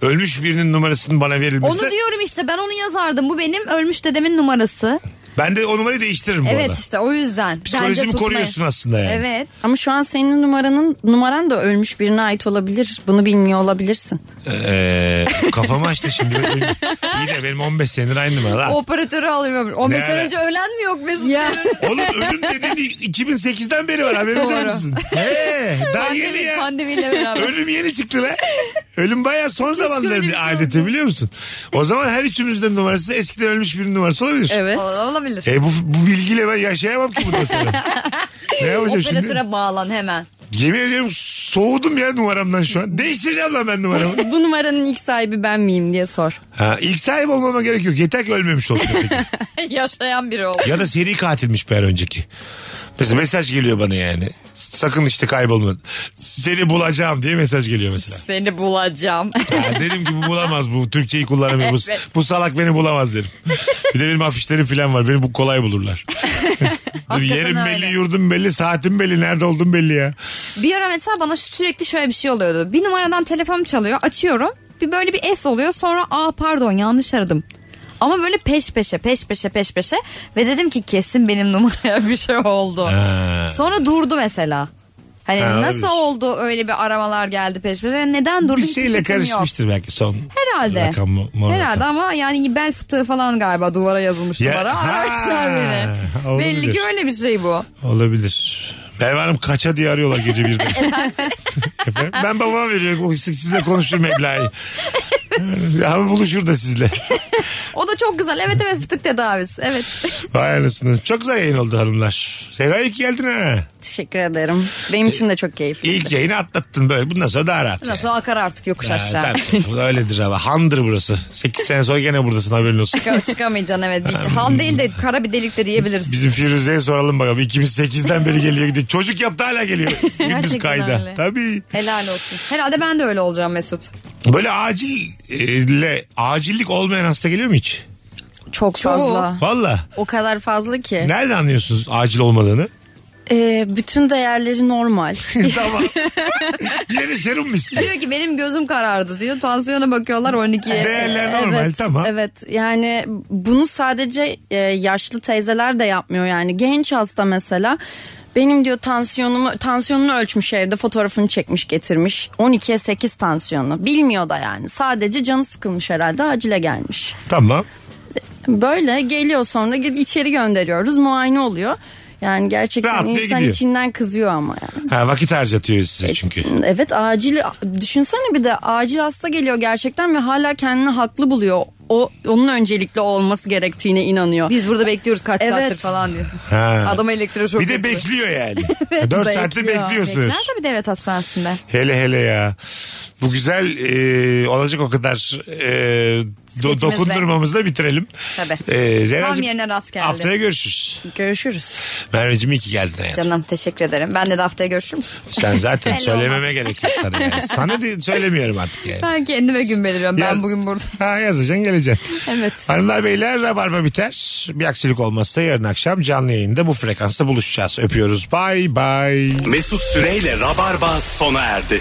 Ölmüş birinin numarasının bana verilmesi de Onu diyorum işte ben onu yazardım. Bu benim ölmüş dedemin numarası. ben de o numarayı değiştiririm bu evet arada. işte o yüzden. Bence Psikolojimi tutmayın. koruyorsun aslında yani. Evet. Ama şu an senin numaranın numaran da ölmüş birine ait olabilir. Bunu bilmiyor olabilirsin. Ee, kafamı açtı şimdi. İyi de benim 15 senedir aynı numara O lan. operatörü alıyorum. 15 Ne sene ara- önce ölen mi yok Mesut? Oğlum ölüm dediğin 2008'den beri var haberiniz var Doğru. mısın? Ee, daha yeni Pandemi, ya. pandemiyle beraber. Ölüm yeni çıktı lan. Ölüm bayağı son zamanların öyle bir bir şey adeti biliyor musun? O zaman her üçümüzden numarası eskiden ölmüş birinin numarası olabilir. Evet. Ol- Olabilir. E bu, bu bilgiyle ben yaşayamam ki burada sonra. ne yapacağım Operatöre şimdi? bağlan hemen. Yemin ediyorum soğudum ya numaramdan şu an. Değiştireceğim lan ben numaramı. Bu numaranın ilk sahibi ben miyim diye sor. Ha, ilk sahip olmama gerek yok. Yeter ki ölmemiş olsun. Yaşayan biri ol. ya da seri katilmiş ben önceki. Mesela mesaj geliyor bana yani. Sakın işte kaybolma. Seni bulacağım diye mesaj geliyor mesela. Seni bulacağım. Ya dedim ki bu bulamaz bu. Türkçeyi kullanamıyor. Bu- Evet. Bu, salak beni bulamaz derim. Bir de benim afişlerim falan var. Beni bu kolay bulurlar. Dedim, Hakikaten Yerim belli, öyle. yurdum belli, saatim belli, nerede olduğum belli ya. bir ara mesela bana sürekli şöyle bir şey oluyordu. Bir numaradan telefonum çalıyor. Açıyorum. Bir böyle bir S oluyor. Sonra aa pardon yanlış aradım. Ama böyle peş peşe peş peşe peş peşe ve dedim ki kesin benim numaraya bir şey oldu. Ha. Sonra durdu mesela. Hani Ha, nasıl olabilir. oldu öyle bir aramalar geldi peş peşe neden durdu Bir hiç şeyle fikrim yok. karışmıştır belki son. Herhalde. Rakam mı? Mor Herhalde rakam. ama yani bel fıtığı falan galiba duvara yazılmış Ya- numara Ha, araçlar bile. olabilir. Belli ki öyle bir şey bu. Olabilir. Merve Hanım kaça diye arıyorlar gece birde. Efendim? ben babama veriyorum. O sizle konuşur meblağı. Abi buluşur da sizle. O da çok güzel. Evet evet fıtık tedavisi. Evet. Vay anasını. Çok güzel yayın oldu hanımlar. Sevda iyi ki geldin ha. Teşekkür ederim. E- Benim için de çok keyifli. İlk yayını atlattın böyle. Bundan sonra daha rahat. Nasıl akar artık yokuş Ha, aşağı. tabii. Bu da öyledir abi. Handır burası. 8 sene sonra gene buradasın haberin olsun. Çıkar, çıkamayacaksın evet. Ee, Bir, han değil de kara bir delik de diyebiliriz. Bizim Firuze'ye soralım bakalım. 2008'den beri geliyor gidiyor. Çocuk yaptı hala geliyor. Gündüz Gerçekten kayda. öyle. Tabii. Helal olsun. Herhalde ben de öyle olacağım Mesut. Böyle acille, acillik olmayan hasta geliyor mu hiç? Çok fazla. Valla. O kadar fazla ki. Nerede anlıyorsunuz acil olmadığını? Ee, bütün değerleri normal. tamam. Yeni serum mu istiyor? Diyor ki benim gözüm karardı diyor. Tansiyona bakıyorlar 12'ye. Değerler normal, tamam. Evet yani bunu sadece e, yaşlı teyzeler de yapmıyor yani genç hasta mesela benim diyor tansiyonumu tansiyonunu ölçmüş evde fotoğrafını çekmiş getirmiş 12'ye 8 tansiyonu bilmiyor da yani sadece canı sıkılmış herhalde acile gelmiş. Tamam. Böyle geliyor sonra gid- içeri gönderiyoruz muayene oluyor. Yani gerçekten Rahat diye insan gidiyor. içinden kızıyor ama yani. Ha, vakit harcatıyor size çünkü. Evet acil düşünsene bir de acil hasta geliyor gerçekten ve hala kendini haklı buluyor. O onun öncelikli olması gerektiğine inanıyor. Biz burada bekliyoruz kaç Evet. saattir falan diyor. Ha. Adam elektroşok Bir de yapıyor. bekliyor yani. Evet, 4 saatte bekliyorsunuz. Bekler tabii devlet hastanesinde. Hele hele ya. Bu güzel e, olacak o kadar e, do, Skeçimizle. dokundurmamızı da bitirelim. Tabii. Ee, Zeynacığım, Tam yerine rast geldi. Haftaya görüşürüz. Görüşürüz. Merveciğim iyi ki geldin hayatım. Canım teşekkür ederim. Ben de, de haftaya görüşür müsün? Sen zaten Belli söylememe olmaz. gerek yok sana. Yani. Sana de söylemiyorum artık yani. Ben kendime gün beliriyorum. Yaz- Ben bugün burada. Ha, yazacaksın geleceksin. Evet. Hanımlar beyler rabarba biter. Bir aksilik olmazsa yarın akşam canlı yayında bu frekansta buluşacağız. Öpüyoruz. Bay bay. Mesut Süreyle Rabarba sona erdi.